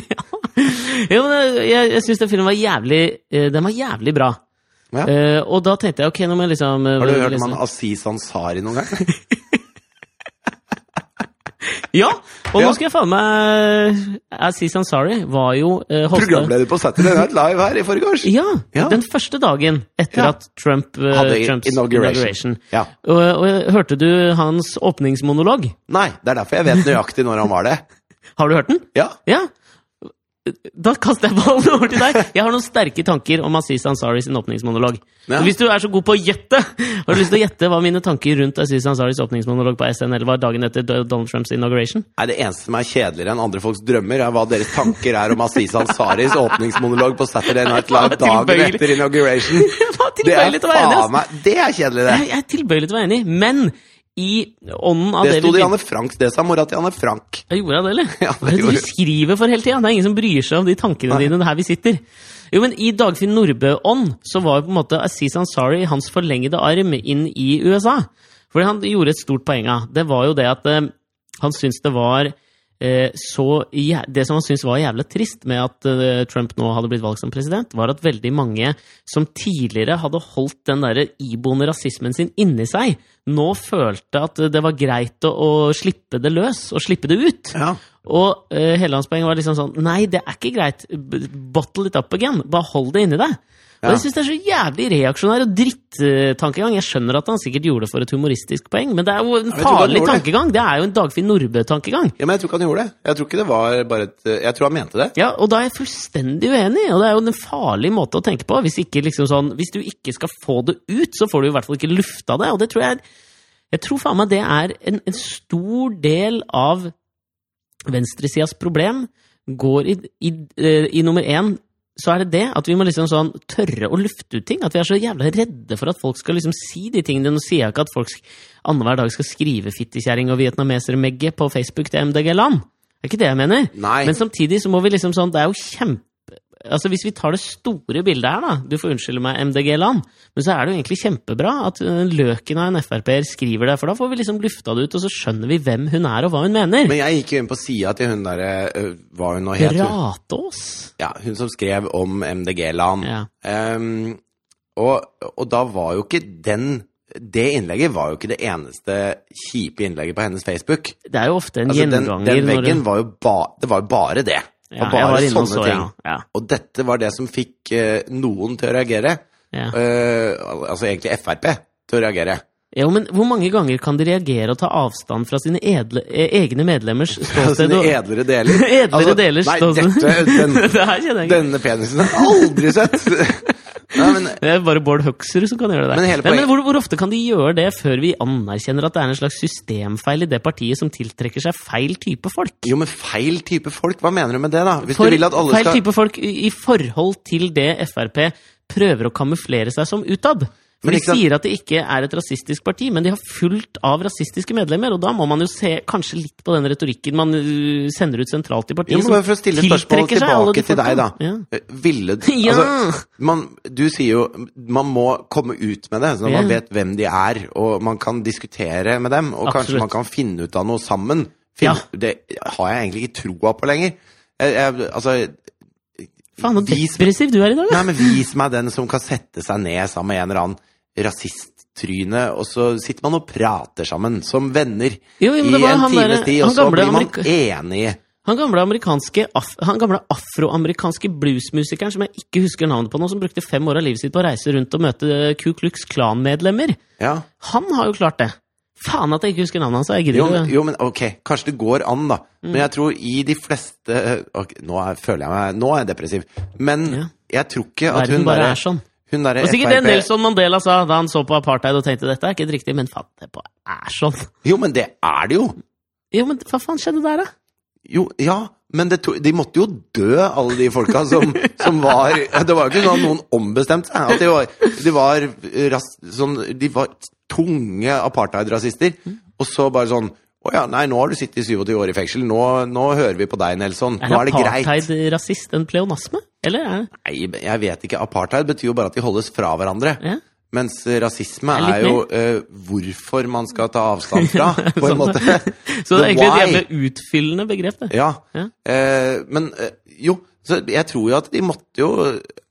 Speaker 1: Jo, men jeg, jeg, jeg syns den filmen var jævlig eh, Den var jævlig bra.
Speaker 2: Ja.
Speaker 1: Eh, og da tenkte jeg ok, nå må jeg liksom eh,
Speaker 2: Har du hørt om
Speaker 1: liksom,
Speaker 2: han Aziz Ansari noen gang?
Speaker 1: Ja! Og
Speaker 2: Ja.
Speaker 1: nå skal jeg faen meg eh, Aziz Ansari var jo eh, hoste-
Speaker 2: Programleder på Saturday Night Live her i forgårs.
Speaker 1: Ja,
Speaker 2: Ja.
Speaker 1: Den første dagen etter
Speaker 2: Ja.
Speaker 1: at Trump eh,
Speaker 2: Hadde
Speaker 1: Trumps inauguration.
Speaker 2: inauguration. Ja.
Speaker 1: Og, og hørte du hans åpningsmonolog?
Speaker 2: Nei, det er derfor jeg vet nøyaktig når han var det.
Speaker 1: Har du hørt den?
Speaker 2: Ja,
Speaker 1: Ja. Da kaster jeg ballen over til deg. Jeg har noen sterke tanker om Aziz Ansari sin åpningsmonolog.
Speaker 2: Ja.
Speaker 1: Så Hvis du er så god på å gjette, har du lyst til å gjette hva mine tanker rundt Aziz Ansaris åpningsmonolog på SNL var dagen etter Donald Trumps inauguration?
Speaker 2: Nei, Det eneste som er kjedeligere enn andre folks drømmer, er hva deres tanker er om Aziz Ansaris åpningsmonolog på Saturday Night Live dagen
Speaker 1: Tilbøyelig.
Speaker 2: etter inauguration.
Speaker 1: Jeg var
Speaker 2: Det er
Speaker 1: tilbøyelig til å være enig.
Speaker 2: faen
Speaker 1: ass.
Speaker 2: meg Det er kjedelig, det.
Speaker 1: Jeg jeg er tilbøyelig til å være enig, men i ånden av
Speaker 2: Det
Speaker 1: det,
Speaker 2: sto det i
Speaker 1: begynte-
Speaker 2: Anne Franks, det sa mora til Anne Frank.
Speaker 1: Jeg gjorde det, eller?
Speaker 2: Ja, det
Speaker 1: Hva er det
Speaker 2: gjorde
Speaker 1: du
Speaker 2: du.
Speaker 1: skriver for hele tida? Det er ingen som bryr seg om de tankene
Speaker 2: Nei.
Speaker 1: dine her vi sitter. Jo, men I Dagfinn Nordbø-ånd så var jo på en måte Aziz Ansari hans forlengede arm inn i USA. Fordi han gjorde et stort poeng av. Det var jo det at eh, han syntes det var eh, så jæ- Det som han syntes var jævla trist med at eh, Trump nå hadde blitt valgt som president, var at veldig mange som tidligere hadde holdt den der iboende rasismen sin inni seg, nå følte at det var greit å, å slippe det løs, og slippe det ut.
Speaker 2: Ja.
Speaker 1: Og eh, hele hans poeng var liksom sånn Nei, det er ikke greit. B- Bottle it up again. Bare hold det inni deg. Og
Speaker 2: Ja.
Speaker 1: Jeg syns det er så jævlig reaksjonær og drittankegang. Jeg skjønner at han sikkert gjorde det for et humoristisk poeng, men det er jo en
Speaker 2: vet ikke hva han
Speaker 1: farlig
Speaker 2: gjorde.
Speaker 1: tankegang. Det er jo en Dagfinn Nordbø-tankegang.
Speaker 2: ja, men jeg tror ikke han gjorde det. Jeg tror ikke det var bare et Jeg tror han mente det.
Speaker 1: Ja, Og da er jeg fullstendig uenig, og det er jo en farlig måte å tenke på. Hvis, ikke liksom sånn, hvis du ikke skal få det ut, så får du i hvert fall ikke lufta det, og det tror jeg er Jeg tror faen meg det er en, en stor del av venstresidas problem går i, i, eh, i nummer én så er det det at vi må liksom sånn tørre å lufte ut ting. At vi er så jævla redde for at folk skal liksom si de tingene. Nå sier jeg ikke at folk sk- annenhver dag skal skrive 'fittekjerring' og 'vietnameser-megge' på Facebook til MDG-land. Det er ikke det jeg mener.
Speaker 2: Nei.
Speaker 1: Men samtidig så må vi liksom sånn Det er jo kjempe Altså Hvis vi tar det store bildet her, da Du får unnskylde meg, MDG-land, men så er det jo egentlig kjempebra at øh, løken av en Frp-er skriver det, for da får vi liksom lufta det ut, og så skjønner vi hvem hun er, og hva hun mener.
Speaker 2: Men jeg gikk jo inn på sida til hun derre øh, Hva hun nå het? Hun,
Speaker 1: Ratås!
Speaker 2: ja, hun som skrev om MDG-land.
Speaker 1: Ja.
Speaker 2: Ehm, og, og da var jo ikke den Det innlegget var jo ikke det eneste kjipe innlegget på hennes Facebook.
Speaker 1: Det er jo ofte en
Speaker 2: Altså, den,
Speaker 1: gjenganger
Speaker 2: den
Speaker 1: når du-
Speaker 2: veggen var jo ba, Det var jo bare det. Det
Speaker 1: ja,
Speaker 2: var bare
Speaker 1: jeg var inne og
Speaker 2: sånne
Speaker 1: så,
Speaker 2: ting.
Speaker 1: ja. ja.
Speaker 2: Og dette var det som fikk eh, noen til å reagere.
Speaker 1: Ja.
Speaker 2: Eh, al- altså egentlig Frp til å reagere.
Speaker 1: Jo, men hvor mange ganger kan de reagere og ta avstand fra sine edle, eh, egne medlemmers ståsted?
Speaker 2: Altså, Sine
Speaker 1: og-
Speaker 2: edlere deler.
Speaker 1: Edlere
Speaker 2: Altså,
Speaker 1: delers
Speaker 2: Nei,
Speaker 1: ståsted.
Speaker 2: dette, den,
Speaker 1: det her kjenner jeg ikke.
Speaker 2: denne penisen har jeg aldri sett! Nei, men
Speaker 1: Det er bare Bård Hoksrud som kan gjøre det. der.
Speaker 2: Men hele
Speaker 1: Nei, men
Speaker 2: poenget-
Speaker 1: hvor, hvor ofte kan de gjøre det før vi anerkjenner at det er en slags systemfeil i det partiet som tiltrekker seg feil type folk?
Speaker 2: Jo, men feil type folk? Hva mener du med det, da? Hvis
Speaker 1: For
Speaker 2: du vil at alle
Speaker 1: feil
Speaker 2: skal
Speaker 1: type folk i i forhold til det Frp prøver å kamuflere seg som utad. For
Speaker 2: Men
Speaker 1: De
Speaker 2: ikke sant-
Speaker 1: sier at det ikke er et rasistisk parti, men de har fullt av rasistiske medlemmer. Og da må man jo se kanskje litt på den retorikken man øh, sender ut sentralt i partiet.
Speaker 2: jo, men
Speaker 1: som
Speaker 2: bare For å stille spørsmålet
Speaker 1: tiltrekker seg alle de
Speaker 2: tilbake til deg, da.
Speaker 1: folka. Ja.
Speaker 2: Ville
Speaker 1: Ja.
Speaker 2: altså, man, Du sier jo man må komme ut med det, sånn at
Speaker 1: Ja.
Speaker 2: man vet hvem de er, og man kan diskutere med dem, og
Speaker 1: Absolutt.
Speaker 2: kanskje man kan finne ut av noe sammen.
Speaker 1: Ja.
Speaker 2: Fin- Det har jeg egentlig ikke troa på lenger. Jeg, jeg, altså
Speaker 1: Faen, så
Speaker 2: vis,
Speaker 1: depressiv du er i dag, da!
Speaker 2: nei, men vis meg den som kan sette seg ned sammen med en eller annen rasisttryne, og så sitter man og prater sammen som venner
Speaker 1: Jo, jo, men det
Speaker 2: i
Speaker 1: var
Speaker 2: en
Speaker 1: han derre-
Speaker 2: times tid,
Speaker 1: han
Speaker 2: og så
Speaker 1: gamle
Speaker 2: blir man
Speaker 1: amerika-
Speaker 2: enige.
Speaker 1: Han gamle, amerikanske, af han gamle afroamerikanske bluesmusikeren som jeg ikke husker navnet på nå, som brukte fem år av livet sitt på å reise rundt og møte eh, Ku Klux Klan-medlemmer.
Speaker 2: Ja.
Speaker 1: Han har jo klart det! Faen at jeg ikke husker navnet hans. Jeg
Speaker 2: Jo,
Speaker 1: gidder
Speaker 2: men-
Speaker 1: ikke.
Speaker 2: jo, men ok, kanskje det går an,
Speaker 1: Mm.
Speaker 2: da. Men jeg tror i de fleste ok, Nå er, føler jeg meg Nå er jeg depressiv. Men
Speaker 1: Ja.
Speaker 2: jeg tror ikke at
Speaker 1: Verden
Speaker 2: hun
Speaker 1: bare
Speaker 2: derre-
Speaker 1: er sånn.
Speaker 2: Hun derre
Speaker 1: Og sikkert det
Speaker 2: FrP
Speaker 1: Nelson Mandela sa da han så på apartheid og tenkte dette er ikke helt riktig, men faen, det bare er sånn.
Speaker 2: Jo, men det er det jo!
Speaker 1: Jo, men hva faen skjedde der, da?
Speaker 2: Jo, ja, men det to, de måtte jo dø, alle de folka som, som var Det var jo ikke sånn at noen ombestemte seg. At de var, de var, ras, sånn, de var tunge apartheid-rasister.
Speaker 1: Mm.
Speaker 2: Og så bare sånn Å ja, nei, nå har du sittet i 27 år i fengsel. Nå, nå hører vi på deg, Nelson. Nå er det greit.
Speaker 1: apartheid rasist en pleonasme? Eller er det
Speaker 2: Nei, jeg vet ikke. Apartheid betyr jo bare at de holdes fra hverandre.
Speaker 1: ja.
Speaker 2: Mens rasisme
Speaker 1: Det er litt
Speaker 2: er jo eh, hvorfor man skal ta avstand fra, på
Speaker 1: Sånn.
Speaker 2: en måte.
Speaker 1: Så det er
Speaker 2: The
Speaker 1: egentlig et
Speaker 2: why.
Speaker 1: jævlig utfyllende begrep, det.
Speaker 2: Ja.
Speaker 1: Ja.
Speaker 2: Eh, men eh, jo, så jeg tror jo at de måtte jo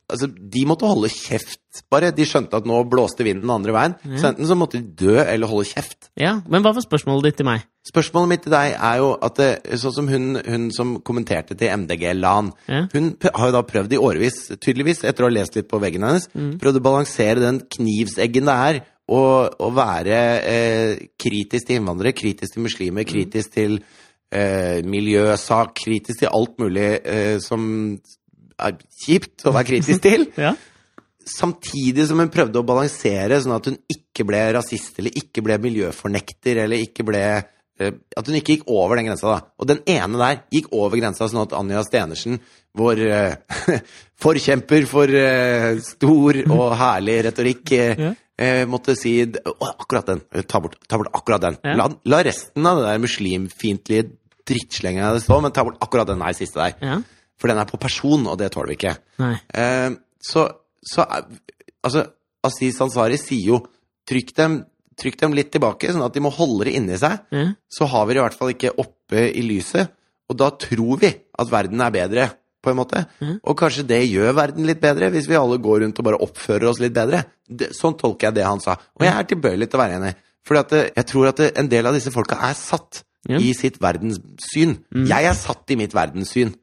Speaker 2: Altså, de måtte holde kjeft, bare. De skjønte at nå blåste vinden den andre veien. Så enten så måtte de dø eller holde kjeft.
Speaker 1: Ja, Men hva var spørsmålet ditt til meg?
Speaker 2: Spørsmålet mitt til deg er jo at det, sånn som hun, hun som kommenterte til MDG LAN,
Speaker 1: Ja.
Speaker 2: hun p- har jo da prøvd i årevis, tydeligvis, etter å ha lest litt på veggen hennes, prøvd å balansere den knivseggen det er å å være eh, kritisk til innvandrere, kritisk til muslimer, kritisk til eh, miljøsak, kritisk til alt mulig eh, som er kjipt å være kritisk til
Speaker 1: Ja.
Speaker 2: samtidig som hun prøvde å balansere, sånn at hun ikke ble rasist, eller ikke ble miljøfornekter, eller ikke ble eh, At hun ikke gikk over den grensa, da. Og den ene der gikk over grensa, sånn at Anja Stenersen, vår eh, forkjemper for eh, stor og herlig retorikk, eh, eh, måtte si d- å, akkurat den. Ta bort, ta bort akkurat den.
Speaker 1: Ja.
Speaker 2: La, la resten av det der muslimfiendtlige drittslenga det står, men ta bort akkurat den her siste der.
Speaker 1: Ja.
Speaker 2: For den er på person, og det tåler vi ikke.
Speaker 1: Nei.
Speaker 2: Eh, så, så er- Altså, Aziz Ansari sier jo trykk dem, trykk dem litt tilbake, sånn at de må holde det inni seg.
Speaker 1: Ja.
Speaker 2: Så har vi det i hvert fall ikke oppe i lyset. Og da tror vi at verden er bedre, på en måte.
Speaker 1: Mhm.
Speaker 2: Og kanskje det gjør verden litt bedre, hvis vi alle går rundt og bare oppfører oss litt bedre. Det, sånn tolker jeg det han sa. Og jeg er tilbøyelig til å være enig. Fordi at eh, jeg tror at eh, en del av disse folka er satt
Speaker 1: Ja. Mhm.
Speaker 2: i sitt verdenssyn. Jeg er satt i mitt verdenssyn.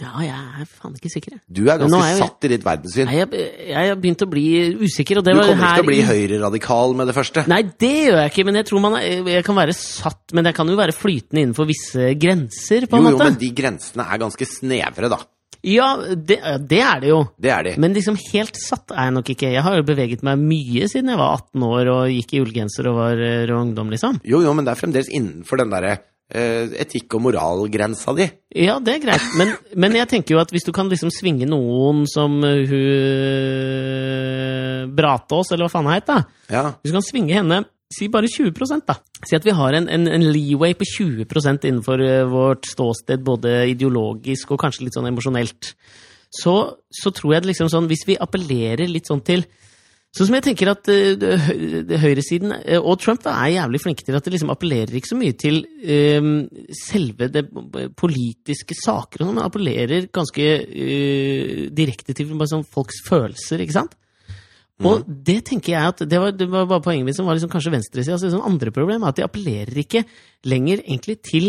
Speaker 1: Ja, jeg er faen ikke sikker, jeg.
Speaker 2: Du er
Speaker 1: Men nå er
Speaker 2: ganske
Speaker 1: jeg-
Speaker 2: satt i ditt verdenssyn.
Speaker 1: Nei, jeg, jeg har begynt å bli usikker, og
Speaker 2: Du
Speaker 1: det var
Speaker 2: kommer ikke
Speaker 1: her
Speaker 2: til å bli
Speaker 1: i-
Speaker 2: høyreradikal med det første.
Speaker 1: Nei, det gjør jeg ikke, men jeg tror man er, jeg kan være satt Men jeg kan jo være flytende innenfor visse grenser, på
Speaker 2: Jo,
Speaker 1: en
Speaker 2: jo,
Speaker 1: måte.
Speaker 2: men de grensene er ganske snevre, da.
Speaker 1: Ja, det, ja, det er det jo.
Speaker 2: Det er de.
Speaker 1: Men liksom helt satt er jeg nok ikke. Jeg har jo beveget meg mye siden jeg var 18 år og gikk i ullgenser og var eh, rå ungdom, liksom.
Speaker 2: Jo, jo, men det er fremdeles innenfor den derre eh, etikk- og moralgrensa di.
Speaker 1: Ja, det er greit, men, men jeg tenker jo at hvis du kan liksom svinge noen som eh, hun Bratås, eller hva faen hun het, da.
Speaker 2: Ja.
Speaker 1: Hvis du kan svinge henne Si bare 20 da. Si at vi har en, en, en leeway på 20 innenfor eh, vårt ståsted, både ideologisk og kanskje litt sånn emosjonelt. Så, så tror jeg det liksom sånn Hvis vi appellerer litt sånn til Sånn som jeg tenker at eh, det hø- det høyresiden eh, og Trump da, er jævlig flinke til at de liksom appellerer ikke så mye til eh, selve det p- politiske saker og sånn, men appellerer ganske eh, direkte til bare sånn folks følelser, ikke sant? Og
Speaker 2: Mhm.
Speaker 1: det tenker jeg at det var, det var bare poenget mitt som var liksom kanskje venstresida. Altså, sånn andre problem er at de appellerer ikke lenger egentlig til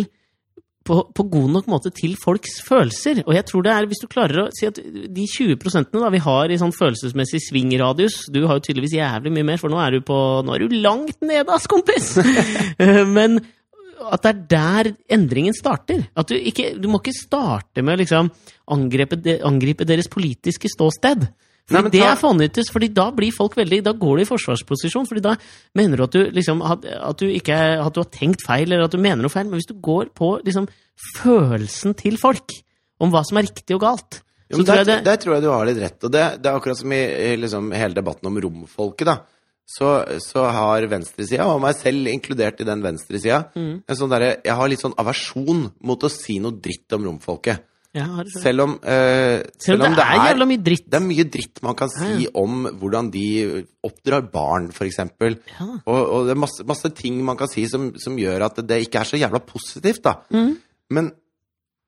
Speaker 1: på, på god nok måte til folks følelser. Og jeg tror det er, hvis du klarer å si at de 20 da vi har i sånn følelsesmessig svingradius Du har jo tydeligvis jævlig mye mer, for nå er du på Nå er du langt nede, ass, kompis! Eh, Men at det er der endringen starter. At du ikke Du må ikke starte med å liksom angripe, de, angripe deres politiske ståsted.
Speaker 2: Nei,
Speaker 1: Fordi
Speaker 2: men
Speaker 1: det
Speaker 2: ta-
Speaker 1: er fanyttes, fordi da blir folk veldig Da går du i forsvarsposisjon, fordi da mener du at du liksom at, at du ikke er- at du har tenkt feil, eller at du mener noe feil, men hvis du går på liksom følelsen til folk om hva som er riktig og galt,
Speaker 2: Jo,
Speaker 1: så
Speaker 2: men
Speaker 1: tror jeg
Speaker 2: der,
Speaker 1: det
Speaker 2: der tror jeg du har litt rett. Og det, det er akkurat som i i liksom, hele debatten om romfolket, da. Så, så har venstresida, og meg selv inkludert i den venstresida,
Speaker 1: Mm.
Speaker 2: en sånn derre Jeg har litt sånn aversjon mot å si noe dritt om romfolket.
Speaker 1: Ja, har du-
Speaker 2: Selv om, eh,
Speaker 1: Selv om det er jævla mye dritt.
Speaker 2: Det er mye dritt man kan si om hvordan de oppdrar barn, for eksempel. Og, og det er masse, masse ting man kan si som, som gjør at det ikke er så jævla positivt, da.
Speaker 1: Mm.
Speaker 2: Men,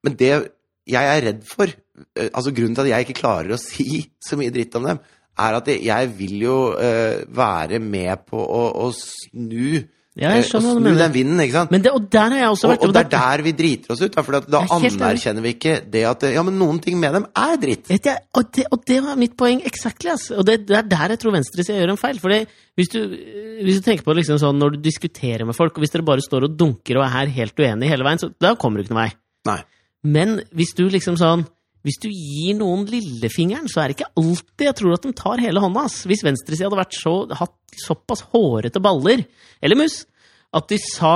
Speaker 2: men det jeg er redd for, eh, altså grunnen til at jeg ikke klarer å si så mye dritt om dem, er at jeg- jeg vil jo eh, være med på å, å snu,
Speaker 1: Ja, jeg
Speaker 2: eh,
Speaker 1: skjønner hva du
Speaker 2: å snu
Speaker 1: mener.
Speaker 2: den vinden, ikke sant?
Speaker 1: Men det, og der har jeg også vært
Speaker 2: og, og det er der vi driter oss ut, da, for at da
Speaker 1: Jeg er helt enig.
Speaker 2: anerkjenner vi ikke det at ja, men noen ting med dem er dritt.
Speaker 1: Vet jeg, og, det, og det var mitt poeng, exactly, ass. Og det, det er der jeg tror venstresida gjør en feil. For hvis, du- hvis du tenker på liksom sånn når du diskuterer med folk, og hvis dere bare står og dunker og er helt uenige hele veien, så da kommer du ikke noen vei.
Speaker 2: Nei.
Speaker 1: Men hvis du liksom sånn hvis du gir noen lillefingeren, så er det ikke alltid jeg tror at de tar hele hånda. Ass. Hvis venstresida hadde vært så, hatt såpass hårete baller, eller mus, at de sa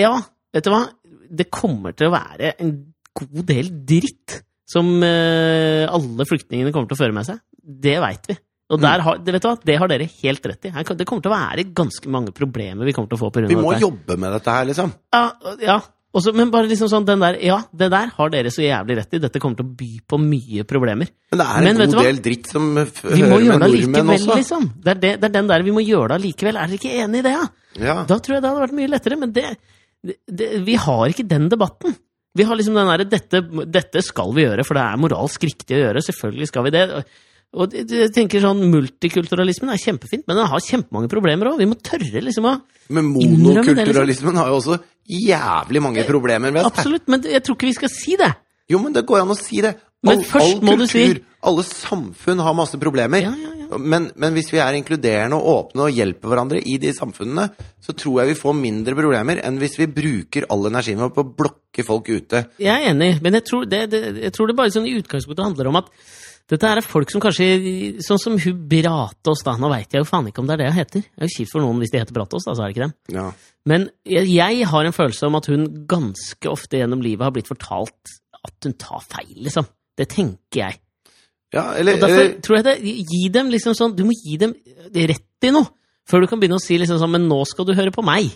Speaker 1: Ja, vet du hva? Det kommer til å være en god del dritt som eh, alle flyktningene kommer til å føre med seg. Det veit vi.
Speaker 2: Mm.
Speaker 1: Og der har, det, vet du hva? det har dere helt rett i. Her kan- Det kommer til å være ganske mange problemer vi kommer til å få pga.
Speaker 2: Vi
Speaker 1: dette.
Speaker 2: må
Speaker 1: her.
Speaker 2: jobbe med dette her, liksom.
Speaker 1: Ja, ja. Også, men bare liksom sånn, den der, ja, det der har dere så jævlig rett i. Dette kommer til å by på mye problemer.
Speaker 2: Men det er
Speaker 1: Men
Speaker 2: en
Speaker 1: vet du
Speaker 2: god
Speaker 1: hva?
Speaker 2: del dritt som f
Speaker 1: Vi må gjøre
Speaker 2: hører med
Speaker 1: det
Speaker 2: nordmenn
Speaker 1: allikevel,
Speaker 2: også.
Speaker 1: liksom. Det er, det, det er den der vi må gjøre det allikevel. Er dere ikke enig i det, ja?
Speaker 2: Ja.
Speaker 1: liksom. Da tror jeg det hadde vært mye lettere, men det, det, det Vi har ikke den debatten. Vi har liksom den derre dette, 'Dette skal vi gjøre, for det er moralsk riktig å gjøre'. Selvfølgelig skal vi det. Og- Og det- det- jeg tenker sånn, Multikulturalismen er kjempefint, men den har kjempemange problemer òg. Vi må tørre liksom å
Speaker 2: Men
Speaker 1: Innrømme det, liksom.
Speaker 2: monokulturalismen har jo også jævlig mange problemer ved seg.
Speaker 1: Absolutt, men jeg tror ikke vi skal si det.
Speaker 2: Jo, men det går an å si det.
Speaker 1: Men først må du si-
Speaker 2: alle samfunn har masse problemer.
Speaker 1: Ja, ja,
Speaker 2: Men, men hvis vi er inkluderende og åpne og hjelper hverandre i de samfunnene, så tror jeg vi får mindre problemer enn hvis vi bruker all energien vår på å blokke folk ute.
Speaker 1: Jeg er enig, men jeg tror det, det, jeg tror det bare sånn i utgangspunktet handler om at dette her er folk som kanskje Sånn som hun Bratås, da. Nå veit jeg jo faen ikke om det er det hun heter. Det er jo kjipt for noen hvis de heter Bratås, da, så er det ikke dem.
Speaker 2: Ja.
Speaker 1: Men jeg, jeg har en følelse om at hun ganske ofte gjennom livet har blitt fortalt at hun tar feil, liksom. Det tenker jeg.
Speaker 2: Ja, eller,
Speaker 1: Og derfor
Speaker 2: eller
Speaker 1: tror jeg det Gi dem liksom sånn Du må gi dem rett i noe. Før du kan begynne å si liksom sånn Men nå skal du høre på meg.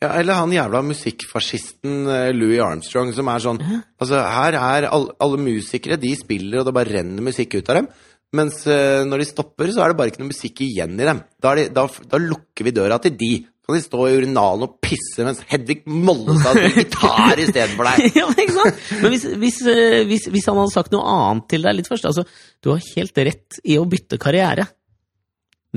Speaker 2: ja, eller han jævla musikkfascisten eh, Louis Armstrong som er sånn Altså, her er all, alle musikere, de spiller, og det bare renner musikk ut av dem. Mens eh, når de stopper, så er det bare ikke noe musikk igjen i dem. Da, er de, da, da lukker vi døra til de. kan de stå i urinalen og pisse mens Hedvig Mollestad spiller gitar istedenfor deg.
Speaker 1: ja, men ikke sant? Men hvis, hvis, eh, hvis, hvis han hadde sagt noe annet til deg litt først altså, Du har helt rett i å bytte karriere.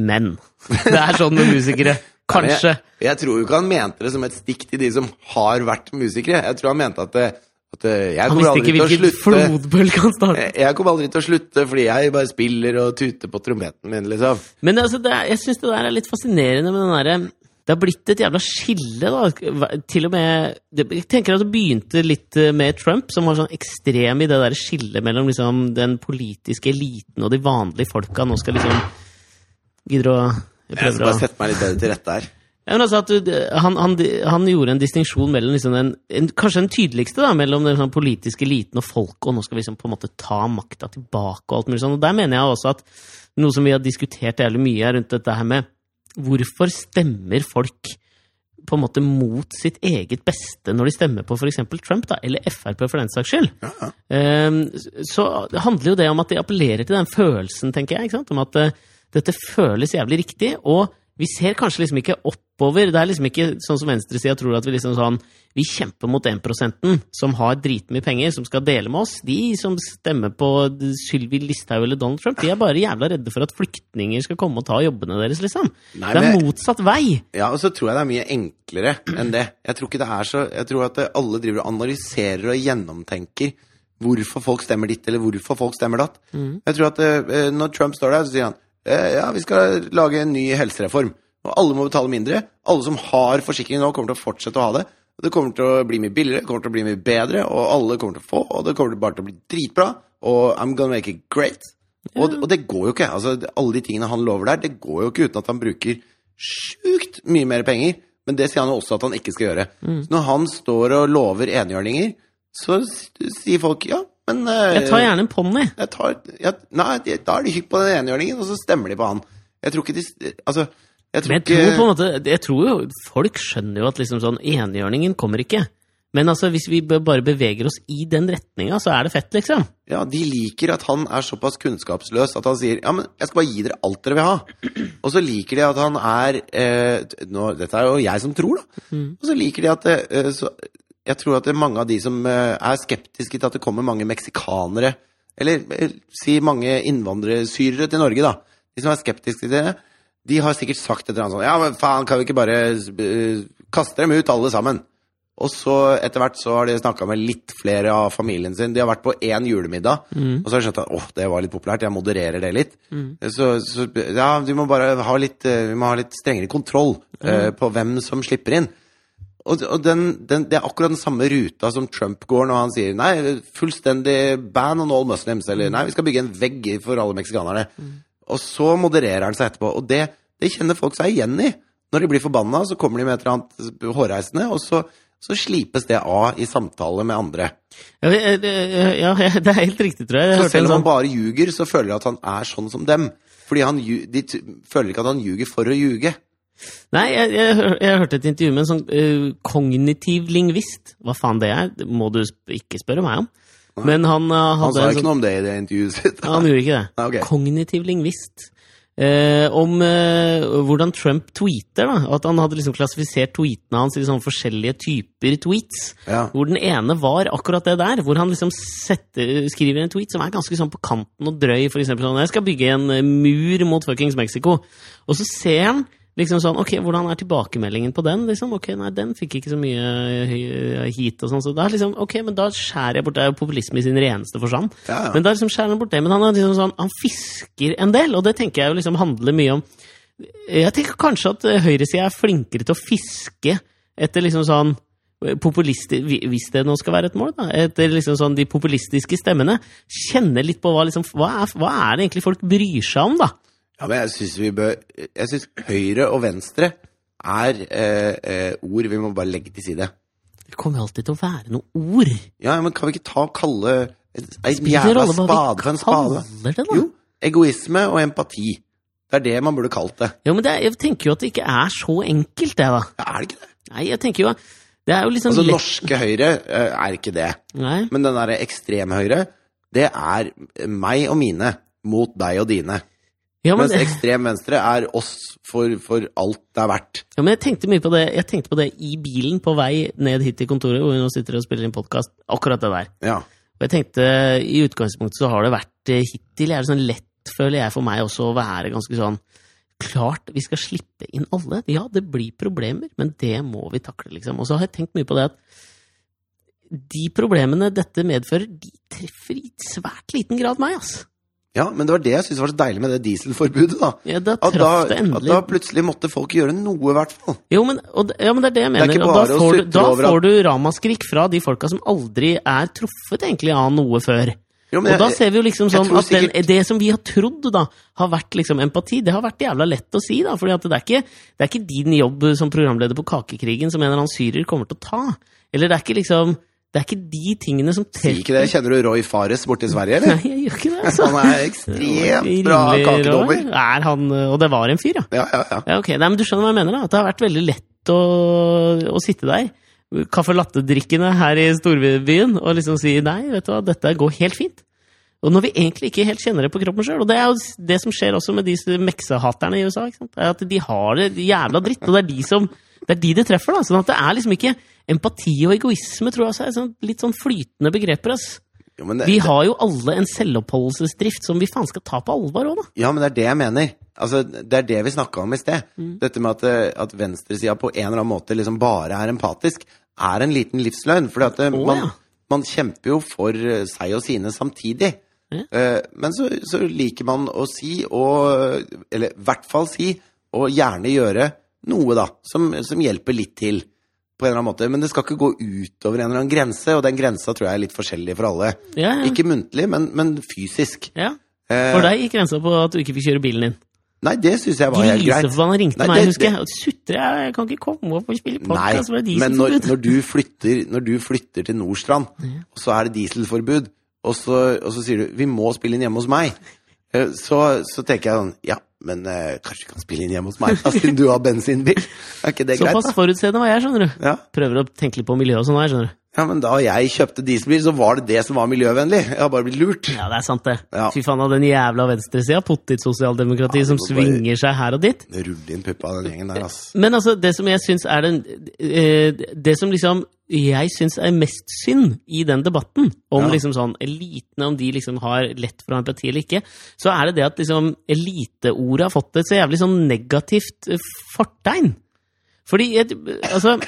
Speaker 1: Men det er sånn med musikere. Kanskje.
Speaker 2: Jeg, jeg tror jo ikke han mente det som et stikk til de som har vært musikere. Jeg tror han mente at, eh, at eh, jeg
Speaker 1: Han
Speaker 2: kommer
Speaker 1: visste
Speaker 2: aldri
Speaker 1: ikke
Speaker 2: til å
Speaker 1: hvilken
Speaker 2: slutte. Eh,
Speaker 1: flodbølge han startet.
Speaker 2: Jeg jeg kommer aldri til å slutte fordi jeg bare spiller og tuter på trompeten min, liksom.
Speaker 1: Men altså, det er, jeg syns det der er litt fascinerende med den derre Det har blitt et jævla skille, da. Til og med det- Jeg tenker at det begynte litt eh, med Trump, som var sånn ekstrem i det der skillet mellom liksom, den politiske eliten og de vanlige folka. Nå skal liksom Gidder å jeg
Speaker 2: Jeg
Speaker 1: prøver
Speaker 2: skal bare
Speaker 1: å
Speaker 2: sette meg litt bedre til rette her.
Speaker 1: ja, men altså at du, han, han, han gjorde en distinksjon mellom liksom den, en, kanskje den tydeligste da, mellom den sånn politiske eliten og folket, og nå skal vi liksom på en måte ta makta tilbake. og alt mulig sånn. Og Der mener jeg også at noe som vi har diskutert jævlig mye er rundt dette her med hvorfor stemmer folk på en måte mot sitt eget beste når de stemmer på f.eks. Trump, da, eller Frp for den saks skyld. Ehm, så handler jo det om at de appellerer til den følelsen, tenker jeg. ikke sant? Om at eh, dette føles jævlig riktig. Og vi ser kanskje liksom ikke oppover. Det er liksom ikke sånn som venstresida tror at vi liksom sånn Vi kjemper mot 1 som har dritmye penger, som skal dele med oss. De som stemmer på Sylvi Listhaug eller Donald Trump, de er bare jævla redde for at flyktninger skal komme og ta jobbene deres, liksom.
Speaker 2: Nei,
Speaker 1: det er
Speaker 2: men-
Speaker 1: motsatt vei.
Speaker 2: Ja, og så tror jeg det er mye enklere enn det. Jeg tror ikke det er så Jeg tror at eh, alle driver og analyserer og gjennomtenker hvorfor folk stemmer ditt, eller hvorfor folk stemmer datt. Jeg tror at eh, eh, når Trump står der, så sier han eh, ja, vi skal lage en ny helsereform. Og alle må betale mindre. Alle som har forsikring nå, kommer til å fortsette å ha det. Og Det kommer til å bli mye billigere, det kommer til å bli mye bedre, og alle kommer til å få, og det kommer til bare til å bli dritbra. Og I'm gonna make it great. Og, og det går jo ikke. altså det- Alle de tingene han lover der, det går jo ikke uten at han bruker sjukt mye mer penger. Men det sier han jo også at han ikke skal gjøre.
Speaker 1: Mm.
Speaker 2: Så når han står og lover enhjørninger, så s- sier folk ja, men eh,
Speaker 1: Jeg tar gjerne en ponni.
Speaker 2: jeg tar, jeg, Nei, de- da er de hygg på den enhjørningen, og så stemmer de på han. Jeg tror ikke de s- Altså, jeg tror
Speaker 1: Men jeg
Speaker 2: ikke
Speaker 1: tror på en måte Jeg tror jo Folk skjønner jo at liksom sånn enhjørningen kommer ikke. Men altså, hvis vi b- bare beveger oss i den retninga, så er det fett, liksom.
Speaker 2: Ja, de liker at han er såpass kunnskapsløs at han sier ja, men jeg skal bare gi dere alt dere vil ha. Og så liker de at han er eh, t- nå, Dette er jo jeg som tror, da. Og så liker de at eh, så, Jeg tror at det er mange av de som eh, er skeptiske til at det kommer mange meksikanere, eller eh, si mange innvandrersyrere til Norge, da. De som er skeptiske til det, de har sikkert sagt et eller annet sånn Ja, men faen, kan vi ikke bare eh, kaste dem ut, alle sammen? Og så etter hvert så har de snakka med litt flere av familien sin. De har vært på én julemiddag, og så har de skjønt at åh, det var litt populært, jeg modererer det litt. Så, så ja, vi må bare ha litt, eh, vi må ha litt strengere kontroll eh, på hvem som slipper inn. Og, og den, den, det er akkurat den samme ruta som Trump går når han sier nei, fullstendig ban on all muslims,
Speaker 1: Mm.
Speaker 2: eller nei, vi skal bygge en vegg for alle meksikanerne. Og så modererer han seg etterpå, og det, det kjenner folk seg igjen i. Når de blir forbanna, så kommer de med et eller annet hårreisende, og så, så slipes det av i samtale med andre.
Speaker 1: Ja, det- det- eh, ja, det er helt riktig, tror jeg. jeg
Speaker 2: Så
Speaker 1: hørte en
Speaker 2: selv om
Speaker 1: sånn,
Speaker 2: han bare ljuger, så føler de at han er sånn som dem. Fordi han, lju- de t- føler ikke at han ljuger for å ljuge.
Speaker 1: nei, jeg, jeg, hør- jeg hørte et intervju med en sånn eh, kognitiv lingvist. Hva faen det er, det må du sp ikke spørre meg om. Men han eh, hadde
Speaker 2: Han
Speaker 1: en
Speaker 2: sa jo
Speaker 1: sånn-
Speaker 2: ikke noe om det i det intervjuet sitt.
Speaker 1: Ja, han gjorde ikke det.
Speaker 2: Nei, Ah, ok.
Speaker 1: Kognitiv lingvist. Eh, om eh, hvordan Trump tweeter. da, At han hadde liksom klassifisert tweetene hans i sånne forskjellige typer tweets.
Speaker 2: Ja.
Speaker 1: Hvor den ene var akkurat det der. Hvor han liksom setter, skriver en tweet som er ganske sånn på kanten og drøy. For eksempel sånn 'Jeg skal bygge en eh, mur mot fuckings Mexico'. Og så ser han liksom sånn Ok, hvordan er tilbakemeldingen på den? liksom, Ok, nei, den fikk ikke så mye eh, hit og sånn. Så da liksom, ok, men da skjærer jeg bort Det er jo populisme i sin reneste forstand.
Speaker 2: Ja, ja.
Speaker 1: Men da liksom skjærer han bort det. Men han, er liksom sånn, han fisker en del, og det tenker jeg jo liksom handler mye om Jeg tenker kanskje at eh, høyresida er flinkere til å fiske etter liksom sånn eh, populisti- hvi- hvis det nå skal være et mål, da, etter liksom sånn de populistiske stemmene. Kjenne litt på hva, liksom, hva, er, hva er det egentlig folk bryr seg om, da?
Speaker 2: Ja, men jeg syns vi bør Jeg syns høyre og venstre er eh, eh, ord vi må bare legge til side.
Speaker 1: Det kommer alltid til å være noen ord.
Speaker 2: Ja, men kan vi ikke ta og kalle ei
Speaker 1: Spiller
Speaker 2: jævla
Speaker 1: rolle hva
Speaker 2: spade
Speaker 1: vi
Speaker 2: for en spade?
Speaker 1: kaller det, da.
Speaker 2: Jo, egoisme og empati. Det er det man burde kalt det.
Speaker 1: Jo, men det er, jeg tenker jo at det ikke er så enkelt, det, da.
Speaker 2: Ja, er det ikke det?
Speaker 1: Nei, jeg tenker jo Det er jo liksom
Speaker 2: Altså,
Speaker 1: lett-
Speaker 2: norske høyre eh, er ikke det.
Speaker 1: Nei.
Speaker 2: Men den derre ekstremhøyre, det er meg og mine mot deg og dine.
Speaker 1: Ja, men,
Speaker 2: Mens ekstrem venstre er oss for, for alt det er verdt.
Speaker 1: ja, men jeg tenkte mye på det Jeg tenkte på det i bilen på vei ned hit til kontoret, hvor vi nå sitter og spiller inn podkast. Akkurat det der.
Speaker 2: Ja.
Speaker 1: Og jeg tenkte, i utgangspunktet så har det vært eh, hittil er det sånn lett, føler jeg, for meg også å være ganske sånn Klart vi skal slippe inn alle. Ja, det blir problemer, men det må vi takle, liksom. Og så har jeg tenkt mye på det at de problemene dette medfører, de treffer i svært liten grad meg, ass.
Speaker 2: ja, men det var det jeg syntes var så deilig med det dieselforbudet, da.
Speaker 1: Ja, da
Speaker 2: At da,
Speaker 1: traff det
Speaker 2: at
Speaker 1: endelig.
Speaker 2: da plutselig måtte folk gjøre noe, i hvert fall.
Speaker 1: Jo, men, og, det- ja, men det er det jeg mener.
Speaker 2: ikke
Speaker 1: og
Speaker 2: bare
Speaker 1: da
Speaker 2: å
Speaker 1: får, du,
Speaker 2: sutre
Speaker 1: da
Speaker 2: over at-
Speaker 1: får du ramaskrik fra de folka som aldri er truffet egentlig av noe før.
Speaker 2: Jo, men
Speaker 1: Og da
Speaker 2: jeg-
Speaker 1: ser vi jo liksom
Speaker 2: jeg
Speaker 1: sånn
Speaker 2: tror
Speaker 1: at den, det som vi har trodd da, har vært liksom empati, det har vært jævla lett å si, da. For det, er ikke- det er ikke din jobb som programleder på Kakekrigen som en eller annen syrer kommer til å ta. Eller det er ikke liksom Det er ikke de tingene som
Speaker 2: Sier ikke det. Kjenner du Roy Fares borte i Sverige,
Speaker 1: Nei,
Speaker 2: eller?
Speaker 1: jeg gjør ikke det, altså.
Speaker 2: Han er ekstremt bra
Speaker 1: Rimelig rå.
Speaker 2: kakedommer.
Speaker 1: Er han Og det var en fyr, ja.
Speaker 2: Ja, ja, ja.
Speaker 1: Ja, ok. Nei, men du skjønner hva jeg mener, da. At det har vært veldig lett å, å sitte der. Kaffe latte-drikkende her i storbyen og liksom si nei, vet du hva, dette går helt fint. Og når vi egentlig ikke helt kjenner det på kroppen sjøl. Og det er jo s- det som skjer også med de s- meksehaterne i USA. ikke sant? Er at De har det jævla dritt, og det er de som det er de det treffer. da, sånn at det er liksom ikke Empati og egoisme tror jeg også er sånn, litt sånn flytende begreper. ass.
Speaker 2: Jo, men det,
Speaker 1: Vi har jo alle en selvoppholdelsesdrift som vi faen skal ta på alvor òg, da.
Speaker 2: Ja, men det er det jeg mener. Altså, det er det vi snakka om i sted.
Speaker 1: Mm.
Speaker 2: Dette med at, eh, at venstresida på en eller annen måte liksom bare er empatisk, er en liten livsløgn. For
Speaker 1: Å,
Speaker 2: man,
Speaker 1: ja.
Speaker 2: man kjemper jo for eh, seg og sine samtidig.
Speaker 1: Ja.
Speaker 2: Eh, Men så, så liker man å si, og, eller i hvert fall si, og gjerne gjøre noe, da, som, som hjelper litt til. På en eller annen måte. Men det skal ikke gå utover en eller annen grense, og den grensa tror jeg er litt forskjellig for alle.
Speaker 1: Ja, ja.
Speaker 2: Ikke muntlig, men, men fysisk.
Speaker 1: ja.
Speaker 2: Eh,
Speaker 1: For deg gikk grensa på at du ikke fikk kjøre bilen din.
Speaker 2: Nei, det syns jeg var helt greit.
Speaker 1: Griseforbanna ringte
Speaker 2: Nei,
Speaker 1: meg,
Speaker 2: det-
Speaker 1: husker jeg. Og Sutre jeg, jeg kan ikke komme opp og spille
Speaker 2: Nei,
Speaker 1: podkast, for det er
Speaker 2: men når,
Speaker 1: dieselforbud.
Speaker 2: når, du flytter, når du flytter til Nordstrand, og så er det dieselforbud, og så, og så sier du 'vi må spille inn hjemme hos meg', eh, så, så tenker jeg sånn Ja, men eh, kanskje du kan spille inn hjemme hos meg, da, siden du har bensinbil? Er ikke det greit,
Speaker 1: Såpass
Speaker 2: da?
Speaker 1: forutseende var jeg, skjønner du.
Speaker 2: Ja.
Speaker 1: Prøver å tenke litt på miljøet og sånn, her, skjønner du.
Speaker 2: ja, men da jeg kjøpte dieselbil, så var det det som var miljøvennlig. Jeg har bare blitt lurt.
Speaker 1: Ja, det er sant, det.
Speaker 2: Ja.
Speaker 1: Fy faen, av den jævla venstresida, pottitsosialdemokratiet
Speaker 2: Ja,
Speaker 1: som
Speaker 2: det var bare-
Speaker 1: svinger seg her og dit.
Speaker 2: Rull inn puppa, den gjengen der, ass.
Speaker 1: Men altså, det som jeg syns er den eh, Det som liksom jeg syns er mest synd i den debatten, om
Speaker 2: Ja.
Speaker 1: liksom sånn elitene, om de liksom har lett for å ha empati eller ikke, så er det det at liksom eliteordet har fått et så jævlig sånn negativt eh, fortegn. Fordi jeg, Altså,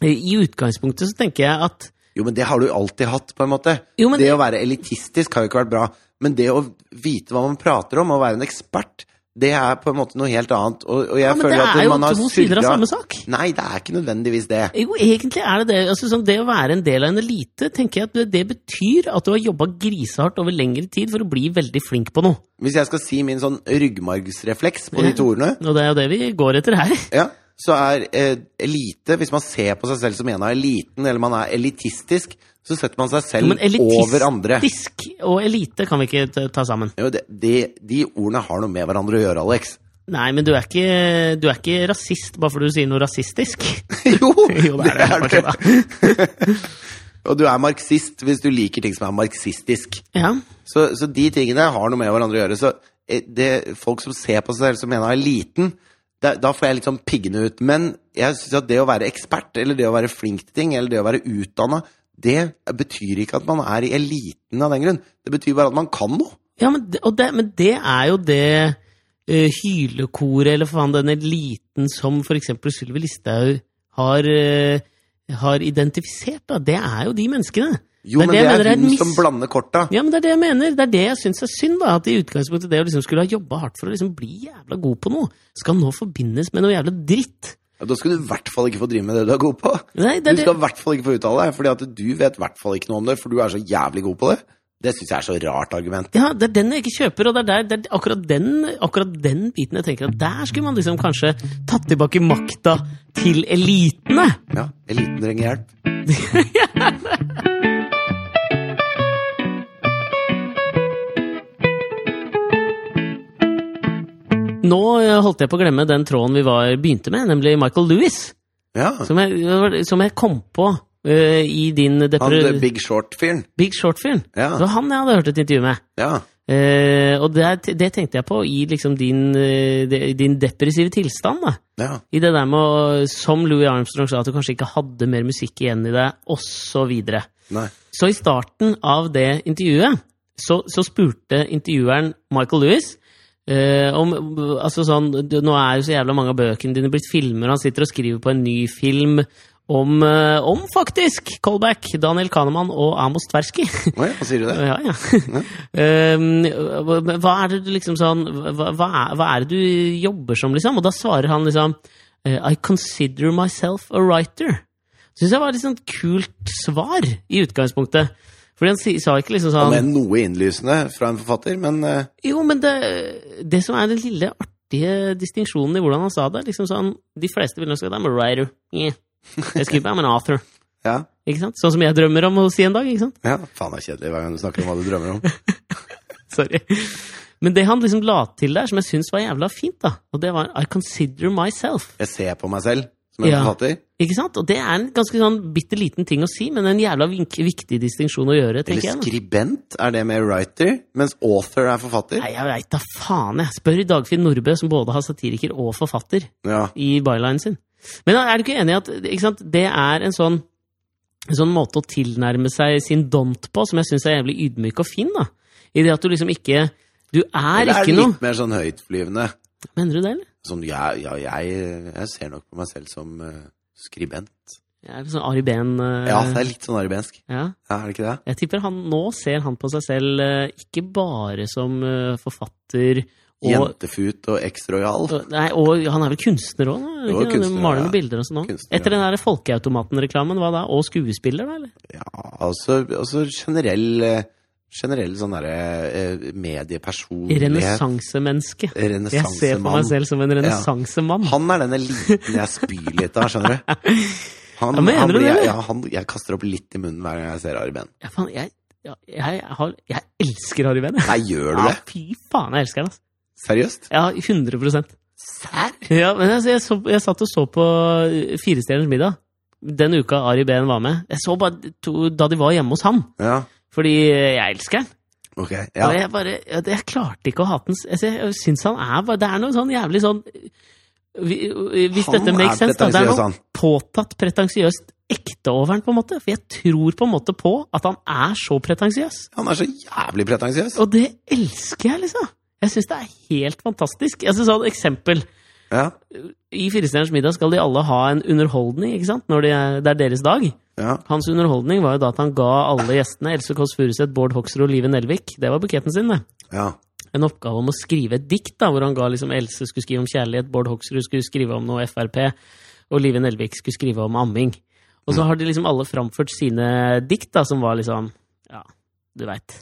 Speaker 1: i utgangspunktet så tenker jeg at
Speaker 2: Jo, men det har du alltid hatt, på en måte.
Speaker 1: Jo, men-
Speaker 2: Det å være elitistisk har jo ikke vært bra. Men det å vite hva man prater om, og være en ekspert, det er på en måte noe helt annet. Og, og jeg
Speaker 1: Ja, men
Speaker 2: føler
Speaker 1: det
Speaker 2: at
Speaker 1: er jo
Speaker 2: man har
Speaker 1: to sider av
Speaker 2: surra-
Speaker 1: samme sak.
Speaker 2: Nei, det er ikke nødvendigvis det.
Speaker 1: Jo, egentlig er det det. Altså, sånn, det å være en del av en elite tenker jeg at det, det betyr at du har jobba grisehardt over lengre tid for å bli veldig flink på noe.
Speaker 2: Hvis jeg skal si min sånn ryggmargsrefleks på de to ordene,
Speaker 1: Og det er jo det vi går etter her.
Speaker 2: ja, så er eh, elite Hvis man ser på seg selv som en av eliten, eller man er elitistisk, så setter man seg
Speaker 1: Jo,
Speaker 2: selv
Speaker 1: men elitistisk
Speaker 2: over andre.
Speaker 1: og elite kan vi ikke ta- ta sammen.
Speaker 2: Jo, det, de, de ordene har noe med hverandre å gjøre, Alex.
Speaker 1: Nei, men du er ikke, du er ikke rasist bare fordi du sier noe rasistisk.
Speaker 2: Jo,
Speaker 1: Jo, det er det.
Speaker 2: det. Og du er marxist hvis du liker ting som er marxistisk.
Speaker 1: Ja.
Speaker 2: Så, så de tingene har noe med hverandre å gjøre. Så eh, det, folk som ser på seg selv som en av eliten, da, da får jeg litt sånn piggende ut. Men jeg syns at det å være ekspert, eller det å være flink til ting, eller det å være utdanna, det betyr ikke at man er i eliten av den grunn. Det betyr bare at man kan noe.
Speaker 1: ja men, det- og det, men det er jo det uh, hylekoret, eller for faen den eliten som for eksempel Sylvi Listhaug har, eh, har identifisert, da. Det er jo de menneskene.
Speaker 2: Jo,
Speaker 1: Det er det
Speaker 2: men det
Speaker 1: jeg
Speaker 2: er
Speaker 1: mener er
Speaker 2: hun
Speaker 1: et
Speaker 2: som
Speaker 1: mis-
Speaker 2: blander korta.
Speaker 1: Ja, men Det er det jeg mener. Det er det jeg syns er synd. da, At i utgangspunktet det å liksom skulle ha jobba hardt for å liksom bli jævla god på noe, skal nå forbindes med noe jævla dritt.
Speaker 2: Ja, da skulle du i hvert fall ikke få drive med det du er god på.
Speaker 1: Nei, det er
Speaker 2: Du
Speaker 1: det.
Speaker 2: skal i hvert fall ikke få uttale deg, fordi at du vet i hvert fall ikke noe om det, for du er så jævlig god på det. Det syns jeg er så rart argument.
Speaker 1: Ja, det er den jeg ikke kjøper, og det er, der, det er akkurat, den, akkurat den biten jeg tenker at der skulle man liksom kanskje tatt tilbake makta til elitene!
Speaker 2: Ja, eliten trenger hjelp.
Speaker 1: Nå eh, holdt jeg på å glemme den tråden vi var, begynte med, nemlig Michael Lewis.
Speaker 2: Ja,
Speaker 1: Som jeg, som jeg kom på eh, i din
Speaker 2: han
Speaker 1: depre...
Speaker 2: eh, Big Short-fyren.
Speaker 1: Big Short-fyren.
Speaker 2: Ja.
Speaker 1: Det var han jeg hadde hørt et intervju med.
Speaker 2: Ja.
Speaker 1: Eh, og det, er- det tenkte jeg på i liksom din, eh, de- din depressive tilstand. da.
Speaker 2: Ja.
Speaker 1: I det der med å, som Louis Armstrong sa, at du kanskje ikke hadde mer musikk igjen i deg, osv.
Speaker 2: Nei.
Speaker 1: Så i starten av det intervjuet så, så spurte intervjueren Michael Lewis eh, om altså sånn, du- Nå er jo så jævla mange av bøkene dine blitt filmer, og han sitter og skriver på en ny film om, eh, om faktisk callback! Daniel Kahneman og Amos Tversky.
Speaker 2: Oi, hva sier du det?
Speaker 1: Ja, ja. Um, hva- hva er det du liksom sånn hva, hva, er, hva er det du jobber som, liksom? Og da svarer han liksom eh, I consider myself a writer. Syns jeg var et litt sånn kult svar i utgangspunktet. Fordi han si- sa ikke liksom sånn
Speaker 2: Om enn noe innlysende fra en forfatter, men eh,
Speaker 1: jo, men det, det som er den lille artige distinksjonen i hvordan han sa det, liksom sånn De fleste vil nok si at I'm a writer. Yeah. Jeg skriver I'm an author.
Speaker 2: ja.
Speaker 1: Ikke sant? Sånn som jeg drømmer om å si en dag. ikke sant?
Speaker 2: ja. Faen, det er kjedelig hver gang du snakker om hva du drømmer om.
Speaker 1: Sorry. Men det han liksom la til der, som jeg syns var jævla fint, da, og det var I consider myself.
Speaker 2: Jeg ser på meg selv som en
Speaker 1: Ja.
Speaker 2: forfatter.
Speaker 1: Ikke sant? Og det er en ganske sånn bitte liten ting å si, men en jævla vink, viktig distinksjon å gjøre, tenker
Speaker 2: Eller
Speaker 1: jeg. da.
Speaker 2: skribent, er det med writer? Mens author er forfatter?
Speaker 1: Nei, jeg veit da faen, jeg. Spør Dagfinn Nordbø, som både har satiriker og forfatter.
Speaker 2: Ja.
Speaker 1: i bylinen sin. Men er du ikke enig i at ikke sant, det er en sånn, en sånn måte å tilnærme seg sin dont på, som jeg syns er jævlig ydmyk og fin? da? I det at du liksom ikke Du er
Speaker 2: Eller er
Speaker 1: ikke
Speaker 2: det
Speaker 1: noe
Speaker 2: litt mer sånn høytflyvende?
Speaker 1: Mener du det, eller?
Speaker 2: Sånn, ja, ja jeg, jeg ser nok på meg selv som eh, skribent.
Speaker 1: Jeg er litt sånn Ari Behn eh,
Speaker 2: Ja, det er litt sånn aribensk.
Speaker 1: ja.
Speaker 2: Ja, er det ikke det?
Speaker 1: Jeg tipper han nå ser han på seg selv eh, ikke bare som eh, forfatter og
Speaker 2: Jentefut og eksrojal.
Speaker 1: og- Nei, og han er vel kunstner òg?
Speaker 2: Jo, kunstner,
Speaker 1: Maler
Speaker 2: ja.
Speaker 1: noen bilder og sånn òg?
Speaker 2: Kunstner,
Speaker 1: Etter
Speaker 2: ja.
Speaker 1: den der Folkeautomaten-reklamen, hva da? Og skuespiller, da? eller?
Speaker 2: Ja, altså, altså generell eh, Generell sånn derre eh, mediepersonlighet.
Speaker 1: Renessansemenneske. Jeg ser på meg
Speaker 2: Renessansemann.
Speaker 1: selv som en renessansemann.
Speaker 2: Han er den eliten jeg spyr litt av, skjønner du. Han,
Speaker 1: Ja, mener
Speaker 2: han
Speaker 1: du
Speaker 2: blir,
Speaker 1: det, eller?
Speaker 2: ja, han, jeg kaster opp litt i munnen hver gang jeg ser Ari Behn.
Speaker 1: Ja, faen, jeg, ja, jeg, har, jeg elsker Harry Behn. jeg.
Speaker 2: Nei, gjør du
Speaker 1: Ja,
Speaker 2: det?
Speaker 1: fy faen, jeg elsker han. Altså.
Speaker 2: Seriøst?
Speaker 1: Ja, 100
Speaker 2: Serr?
Speaker 1: ja, men altså, jeg, så, jeg satt og så på eh, Firestjerners middag den uka Ari Behn var med. Jeg så bare to, da de var hjemme hos han.
Speaker 2: Ja,
Speaker 1: Fordi eh, jeg elsker han.
Speaker 2: ok. Ja.
Speaker 1: Og jeg bare jeg, jeg klarte ikke å hate han. altså, Jeg, jeg syns han er bare Det er noe sånn jævlig sånn vi- Hvis
Speaker 2: Han
Speaker 1: dette
Speaker 2: er
Speaker 1: makes sense, da. Det er
Speaker 2: pretensiøs,
Speaker 1: noe
Speaker 2: han.
Speaker 1: påtatt pretensiøst ekte over han, på en måte. For jeg tror på en måte på at han er så pretensiøs.
Speaker 2: Han er så jævlig pretensiøs.
Speaker 1: Og det elsker jeg, liksom. Jeg syns det er helt fantastisk. Jeg synes sånn eksempel.
Speaker 2: Ja,
Speaker 1: I Firestjerners middag skal de alle ha en underholdning, ikke sant? Når de er, det er deres dag.
Speaker 2: ja.
Speaker 1: Hans underholdning var jo da at han ga alle gjestene, Else Kåss Furuseth, Bård Hoksrud og Live Nelvik, det var buketten sin, det,
Speaker 2: ja.
Speaker 1: en oppgave om å skrive et dikt, da, hvor han ga liksom Else skulle skrive om kjærlighet, Bård Hoksrud skulle skrive om noe Frp, og Live Nelvik skulle skrive om amming. Og så har de liksom alle framført sine dikt, da, som var liksom Ja, du veit.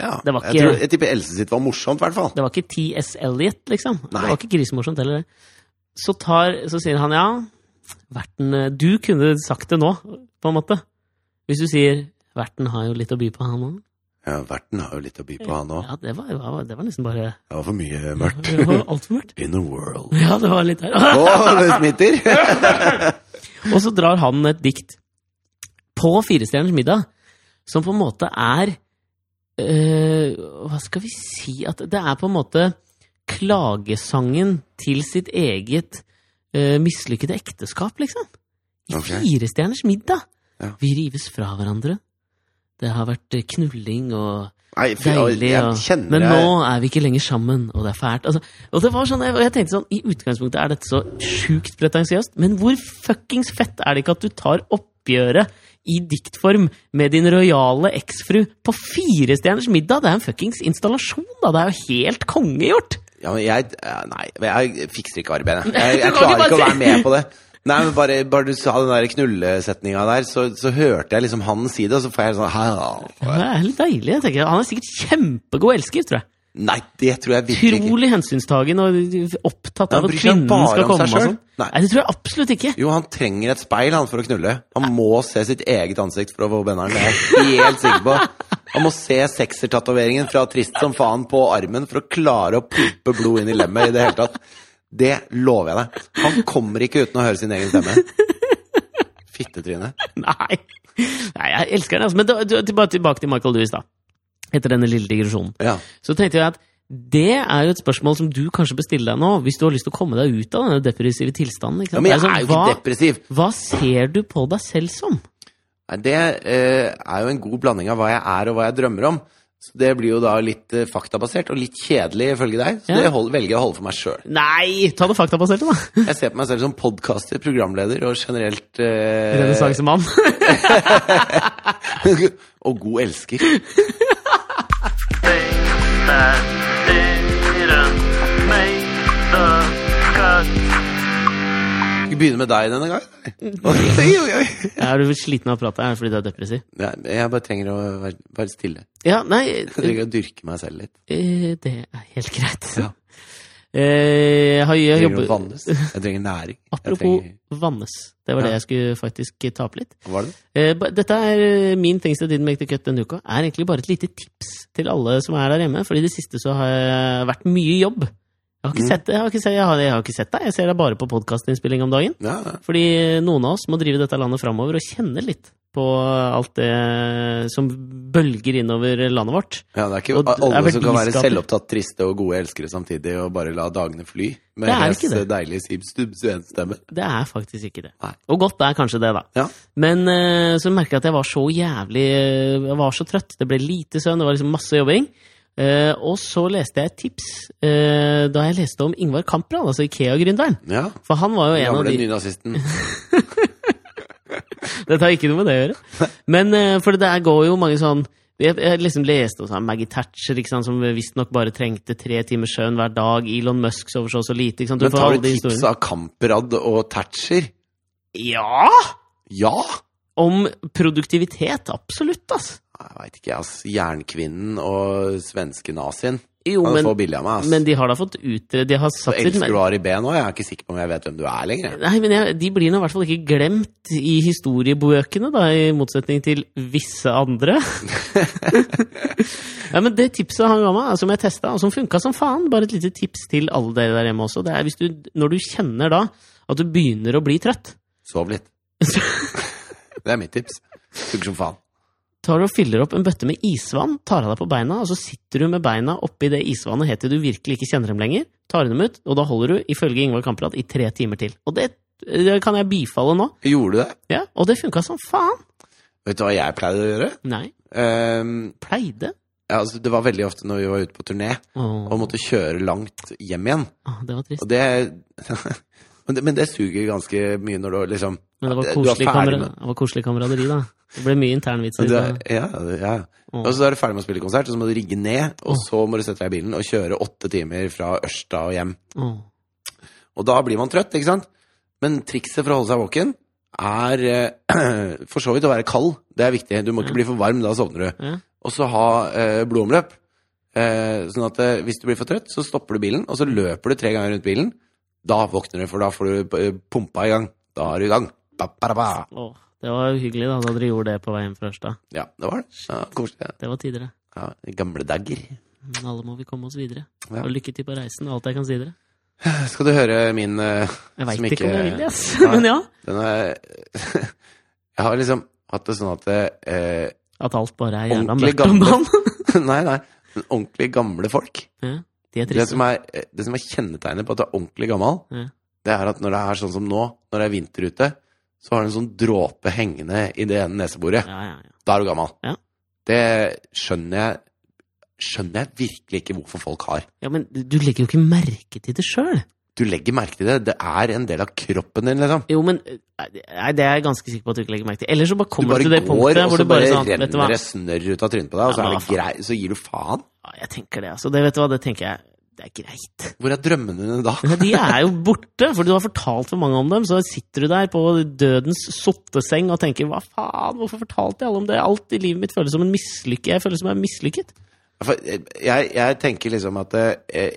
Speaker 2: ja.
Speaker 1: Det var
Speaker 2: jeg,
Speaker 1: ikke-
Speaker 2: tror, jeg tipper Else sitt var morsomt, i hvert fall.
Speaker 1: Det var ikke T.S. Eliot, liksom.
Speaker 2: Nei.
Speaker 1: Det var ikke grisemorsomt heller. det. Så, tar, så sier han ja, verten eh, Du kunne sagt det nå, på en måte. Hvis du sier verten har jo litt å by på, han òg.
Speaker 2: Ja, Verten har jo litt å by på, han òg.
Speaker 1: Ja, det var, det var- det var nesten bare
Speaker 2: Det var for mye mørkt.
Speaker 1: Det var altfor mørkt.
Speaker 2: In the world.
Speaker 1: Ja, det var litt der.
Speaker 2: Å, det smitter!
Speaker 1: Og så drar han et dikt på Firestjerners middag, som på en måte er eh, Hva skal vi si at Det er på en måte klagesangen til sitt eget eh, mislykkede ekteskap, liksom. I
Speaker 2: Ok.
Speaker 1: Firestjerners middag!
Speaker 2: Ja.
Speaker 1: Vi rives fra hverandre. Det har vært eh, knulling og
Speaker 2: Nei, for, jeg,
Speaker 1: Deilig,
Speaker 2: jeg
Speaker 1: ja.
Speaker 2: kjenner
Speaker 1: Men
Speaker 2: jeg-
Speaker 1: nå er vi ikke lenger sammen, og det er fælt. Altså, og det var sånn, jeg, og jeg tenkte sånn, I utgangspunktet er dette så sjukt pretensiøst, men hvor fuckings fett er det ikke at du tar oppgjøret i diktform med din rojale eksfru på Firestjerners middag? Det er en fuckings installasjon, da! Det er jo helt kongegjort!
Speaker 2: Ja, men jeg eh, Nei, jeg fikser ikke arbeidet.
Speaker 1: Nei,
Speaker 2: Jeg,
Speaker 1: du
Speaker 2: jeg
Speaker 1: kan ikke
Speaker 2: klarer ikke
Speaker 1: bare
Speaker 2: å være med på det. Nei, men bare, bare du sa den der knullesetninga der, så, så hørte jeg liksom han si det, og så får jeg sånn
Speaker 1: Det
Speaker 2: «Hæ?»
Speaker 1: er litt deilig. jeg tenker. Han er sikkert kjempegod elsker, tror jeg.
Speaker 2: Nei, det tror jeg virkelig ikke.
Speaker 1: Utrolig hensynstagen og opptatt
Speaker 2: Han
Speaker 1: av at
Speaker 2: bryr seg
Speaker 1: kvinnen
Speaker 2: bare
Speaker 1: skal
Speaker 2: om
Speaker 1: komme.
Speaker 2: seg
Speaker 1: Og sånn.
Speaker 2: selv. Nei.
Speaker 1: Nei, det tror jeg absolutt ikke.
Speaker 2: Jo, han trenger et speil han for å knulle. Han må se sitt eget ansikt for å få benneren. Det er jeg helt sikker på. Han må se seksertatoveringen fra Trist som faen på armen for å klare å pumpe blod inn i lemmet i det hele tatt. Det lover jeg deg. Han kommer ikke uten å høre sin egen stemme. Fittetryne.
Speaker 1: Nei. Nei, jeg elsker den, altså. Men da, du- tilbake, tilbake til Michael Lewis, da. Etter denne lille digresjonen.
Speaker 2: Ja.
Speaker 1: Så tenkte jeg at det er jo et spørsmål som du kanskje bestiller deg nå, hvis du har lyst til å komme deg ut av denne depressive tilstanden. Ikke sant?
Speaker 2: ja, men
Speaker 1: Det
Speaker 2: jeg
Speaker 1: sånn,
Speaker 2: er jo ikke depressiv.
Speaker 1: hva, hva ser du på deg selv som?
Speaker 2: Nei, Det eh, er jo en god blanding av hva jeg er og hva jeg drømmer om. Så det blir jo da litt eh, faktabasert og litt kjedelig, ifølge deg. Så
Speaker 1: Ja.
Speaker 2: det hold, velger jeg å holde for meg sjøl.
Speaker 1: Nei, ta det faktabaserte, da!
Speaker 2: Jeg ser på meg selv som podkaster, programleder og generelt eh,
Speaker 1: Rene Sagsmann.
Speaker 2: Og god elsker.
Speaker 3: things that didn't make the cut.
Speaker 2: Skal vi begynne med deg denne gangen? Oi, oi, oi.
Speaker 1: Er du sliten av å prate? Er det fordi du er depressiv?
Speaker 2: Nei, Jeg bare trenger å være, være stille.
Speaker 1: Ja, nei,
Speaker 2: Jeg trenger å dyrke meg selv litt.
Speaker 1: eh, det er helt greit.
Speaker 2: Ja.
Speaker 1: Eh, jeg har, jeg
Speaker 2: Jeg trenger å
Speaker 1: jobber,
Speaker 2: vannes. Jeg trenger næring. Jeg
Speaker 1: apropos
Speaker 2: trenger-
Speaker 1: vannes, det var det
Speaker 2: Ja.
Speaker 1: jeg skulle faktisk ta opp litt.
Speaker 2: Hva var det?
Speaker 1: Eh, ba- Dette er eh, min things that didn't make the cut denne uka. Er egentlig bare et lite tips til alle som er der hjemme. For i det siste så har jeg vært mye i jobb. Jeg har ikke
Speaker 2: Mm.
Speaker 1: sett det, jeg har ikke sett, jeg har, jeg har ikke sett deg. Jeg ser deg bare på podkastinnspilling om dagen.
Speaker 2: Ja, ja.
Speaker 1: Fordi noen av oss må drive dette landet framover og kjenne litt på alt det som bølger innover landet vårt.
Speaker 2: ja, det er ikke
Speaker 1: Og det er
Speaker 2: alle som kan være
Speaker 1: verdiskaper.
Speaker 2: selvopptatt, triste og gode elskere samtidig og bare la dagene fly med
Speaker 1: Det er
Speaker 2: hennes
Speaker 1: ikke det.
Speaker 2: deilige Sib-Stubb-stemme.
Speaker 1: Det er faktisk ikke det.
Speaker 2: Nei.
Speaker 1: Og godt er kanskje det, da.
Speaker 2: Ja.
Speaker 1: Men eh, så merker jeg at jeg var så jævlig eh, Jeg var så trøtt. Det ble lite søvn, det var liksom masse jobbing. Eh, og så leste jeg et tips eh, da jeg leste om Ingvar Kamprad, altså Ikea-gründeren.
Speaker 2: ja.
Speaker 1: For han var jo en av
Speaker 2: Gamle
Speaker 1: de
Speaker 2: nynazisten.
Speaker 1: Dette har ikke noe med det å gjøre. Men eh, for det der går jo mange sånn jeg, jeg liksom leste om sånn Maggie Thatcher, ikke sant, som visstnok bare trengte tre timers søvn hver dag. Elon Musk sover så og så lite. Ikke sant? Du
Speaker 2: Men
Speaker 1: får
Speaker 2: tar
Speaker 1: alle
Speaker 2: du
Speaker 1: de
Speaker 2: tips
Speaker 1: historiene.
Speaker 2: av Kamprad og Thatcher?
Speaker 1: Ja!
Speaker 2: Ja!
Speaker 1: Om produktivitet. Absolutt, ass.
Speaker 2: Jeg veit ikke, ass. Jernkvinnen og svenske-nazien.
Speaker 1: Jo,
Speaker 2: Han
Speaker 1: men,
Speaker 2: får billig av meg, ass.
Speaker 1: men de har da fått utrede De har
Speaker 2: Så
Speaker 1: satt sitt
Speaker 2: elsker du Ari B nå? Jeg er ikke sikker på om jeg vet hvem du er lenger. jeg.
Speaker 1: Nei, men jeg, De blir nå i hvert fall ikke glemt i historiebøkene, da, i motsetning til visse andre. ja, men Det tipset han ga meg, altså, som jeg testa, og som funka som faen, bare et lite tips til alle dere der hjemme også, det er hvis du, når du kjenner da at du begynner å bli trøtt,
Speaker 2: Sov litt. Det er mitt tips. Funker som faen.
Speaker 1: tar du og fyller opp en bøtte med isvann, tar av deg på beina, og så sitter du med beina oppi det isvannet helt til du virkelig ikke kjenner dem lenger, tar dem ut, og da holder du, ifølge Ingvar Kamprad, i tre timer til. Og det, det kan jeg bifalle nå,
Speaker 2: Gjorde du det?
Speaker 1: ja, og det funka som faen.
Speaker 2: Vet du hva jeg pleide å gjøre?
Speaker 1: Nei,
Speaker 2: Ehm,
Speaker 1: pleide.
Speaker 2: ja, altså, det var veldig ofte når vi var ute på turné
Speaker 1: Åh,
Speaker 2: og måtte kjøre langt hjem igjen.
Speaker 1: åh, det var trist.
Speaker 2: Og det men, det men det suger ganske mye når du liksom
Speaker 1: Men det var
Speaker 2: du er
Speaker 1: koselig,
Speaker 2: ferdig
Speaker 1: kamera
Speaker 2: med-
Speaker 1: det var koselig kameraderi, da. Det ble mye
Speaker 2: Men
Speaker 1: internvitser. da.
Speaker 2: det- Ja, ja.
Speaker 1: Åh.
Speaker 2: Og så er du ferdig med å spille konsert, og så må du rigge ned, og så må du sette deg i bilen og kjøre åtte timer fra Ørsta og hjem.
Speaker 1: Åh.
Speaker 2: Og da blir man trøtt, ikke sant? Men trikset for å holde seg våken er eh, for så vidt å være kald. Det er viktig. Du må
Speaker 1: Mm.
Speaker 2: ikke bli for varm, da sovner du.
Speaker 1: Ja.
Speaker 2: Og så ha eh, blodomløp. Eh, sånn at eh, hvis du blir for trøtt, så stopper du bilen, og så løper du tre ganger rundt bilen. Da våkner du, for da får du eh, pumpa i gang. Da er du i gang. Ba, ba, da, ba.
Speaker 1: Åh, det var hyggelig da, da dere gjorde det på vei hjem fra Ørsta.
Speaker 2: Ja, det var det. Ja, Koselig. ja.
Speaker 1: Det var tider, det.
Speaker 2: Ja, i gamle dager.
Speaker 1: Men alle må vi komme oss videre.
Speaker 2: Ja.
Speaker 1: Og lykke til på reisen, og alt jeg kan si dere.
Speaker 2: Skal du høre min eh,
Speaker 1: Jeg
Speaker 2: Som
Speaker 1: veit ikke om jeg
Speaker 2: ikke-
Speaker 1: vil, yes.
Speaker 2: Nei.
Speaker 1: men ja.
Speaker 2: den er, Jeg har liksom hatt det sånn at eh,
Speaker 1: At alt bare er jævla
Speaker 2: Ordentlig
Speaker 1: mørkt om dagen.
Speaker 2: Nei, nei. Men ordentlig gamle folk.
Speaker 1: Ja, de er
Speaker 2: Det
Speaker 1: triste.
Speaker 2: som er, det som er kjennetegnet på at du er ordentlig gammel,
Speaker 1: Ja.
Speaker 2: det er at når det er sånn som nå, når det er vinter ute, så har du en sånn dråpe hengende i det ene neseboret.
Speaker 1: Ja, ja, ja.
Speaker 2: Da er du gammel.
Speaker 1: Ja.
Speaker 2: Det skjønner jeg skjønner jeg virkelig ikke hvorfor folk har.
Speaker 1: ja, men du legger jo ikke merke til det sjøl.
Speaker 2: Du legger merke til det. Det er en del av kroppen din, liksom.
Speaker 1: Jo, men nei, det er jeg ganske sikker på at du ikke legger merke til. Ellers så bare
Speaker 2: Du
Speaker 1: kommer
Speaker 2: bare
Speaker 1: du til det
Speaker 2: går,
Speaker 1: punktet
Speaker 2: og
Speaker 1: hvor
Speaker 2: så
Speaker 1: du
Speaker 2: bare
Speaker 1: bare sånn, vet du hva
Speaker 2: renner det snørr ut av trynet på deg, og så,
Speaker 1: Ja,
Speaker 2: er
Speaker 1: men
Speaker 2: det grei, så gir du faen.
Speaker 1: Ja, jeg tenker det, altså. Det, vet du hva, det tenker jeg. Det er greit.
Speaker 2: Hvor er drømmene dine da?
Speaker 1: Men De er jo borte, for du har fortalt for mange om dem. Så sitter du der på dødens sotteseng og tenker hva faen, hvorfor fortalte jeg alle om det? Alt i livet mitt føles som en mislykke. Jeg føles som jeg er mislykket.
Speaker 2: For eh, jeg, jeg tenker liksom at eh,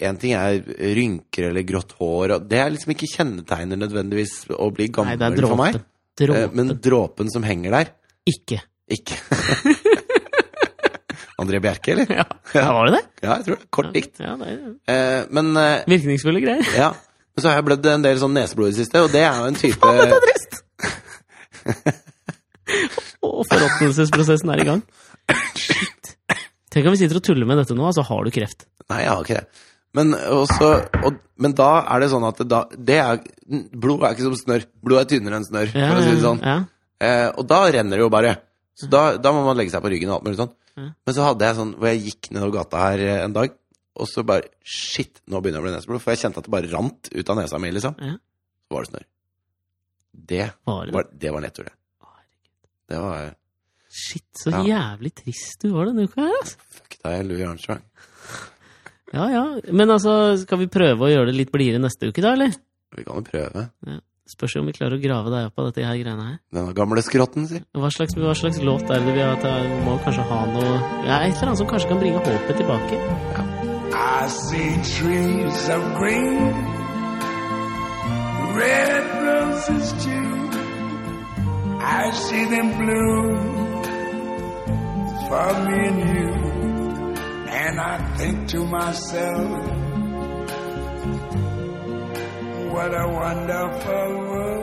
Speaker 2: en ting er rynker eller grått hår, og det er liksom ikke kjennetegner nødvendigvis å bli
Speaker 1: Nei,
Speaker 2: gammel
Speaker 1: det er
Speaker 2: for meg.
Speaker 1: dråpen.
Speaker 2: Eh,
Speaker 1: Dråpen.
Speaker 2: Men dråpen som henger der,
Speaker 1: Ikke.
Speaker 2: ikke. André Bjerke, eller?
Speaker 1: Ja, var det det?
Speaker 2: Ja, jeg tror det. Kort dikt.
Speaker 1: Ja, det er
Speaker 2: Eh, Men eh,
Speaker 1: Virkningsfulle greier.
Speaker 2: ja, Men så har jeg blødd en del sånn neseblod i det siste, og det er jo en type
Speaker 1: Det er trist! Og forråtnelsesprosessen er i gang. Shit. Tenk om vi sitter og tuller med dette nå, og så har du kreft.
Speaker 2: Nei, jeg har ikke det. Men, også, og, men da er det sånn at det da, det er, blod er ikke som snørr. Blod er tynnere enn snørr, for å si det sånn.
Speaker 1: Ja.
Speaker 2: Eh, og da renner det jo bare. Så da, da må man legge seg på ryggen og alt mulig sånn.
Speaker 1: Ja.
Speaker 2: Men så hadde jeg sånn hvor jeg gikk nedover gata her eh, en dag, og så bare Shit, nå begynner det å bli neseblod. For jeg kjente at det bare rant ut av nesa mi, liksom.
Speaker 1: Ja.
Speaker 2: Så var det snørr. Det
Speaker 1: Var det
Speaker 2: var, det var nettopp det. Det var
Speaker 1: Shit, så jævlig trist du var denne uka her, altså.
Speaker 2: Fuck deg, Louis Armstrong.
Speaker 1: Ja, ja. Men altså, skal vi prøve å gjøre det litt blidere neste uke, da, eller?
Speaker 2: Vi kan jo prøve.
Speaker 1: Spørs jo om vi klarer å grave deg opp av dette her greiene her.
Speaker 2: Denne gamle skrotten, si.
Speaker 1: Hva slags, hva slags låt er det vi har til? Vi må kanskje ha noe Ja, et eller annet som kanskje kan bringe håpet tilbake.
Speaker 4: I see trees of green, red roses too. I see them bloom for me and you. And I think to myself, what a wonderful world.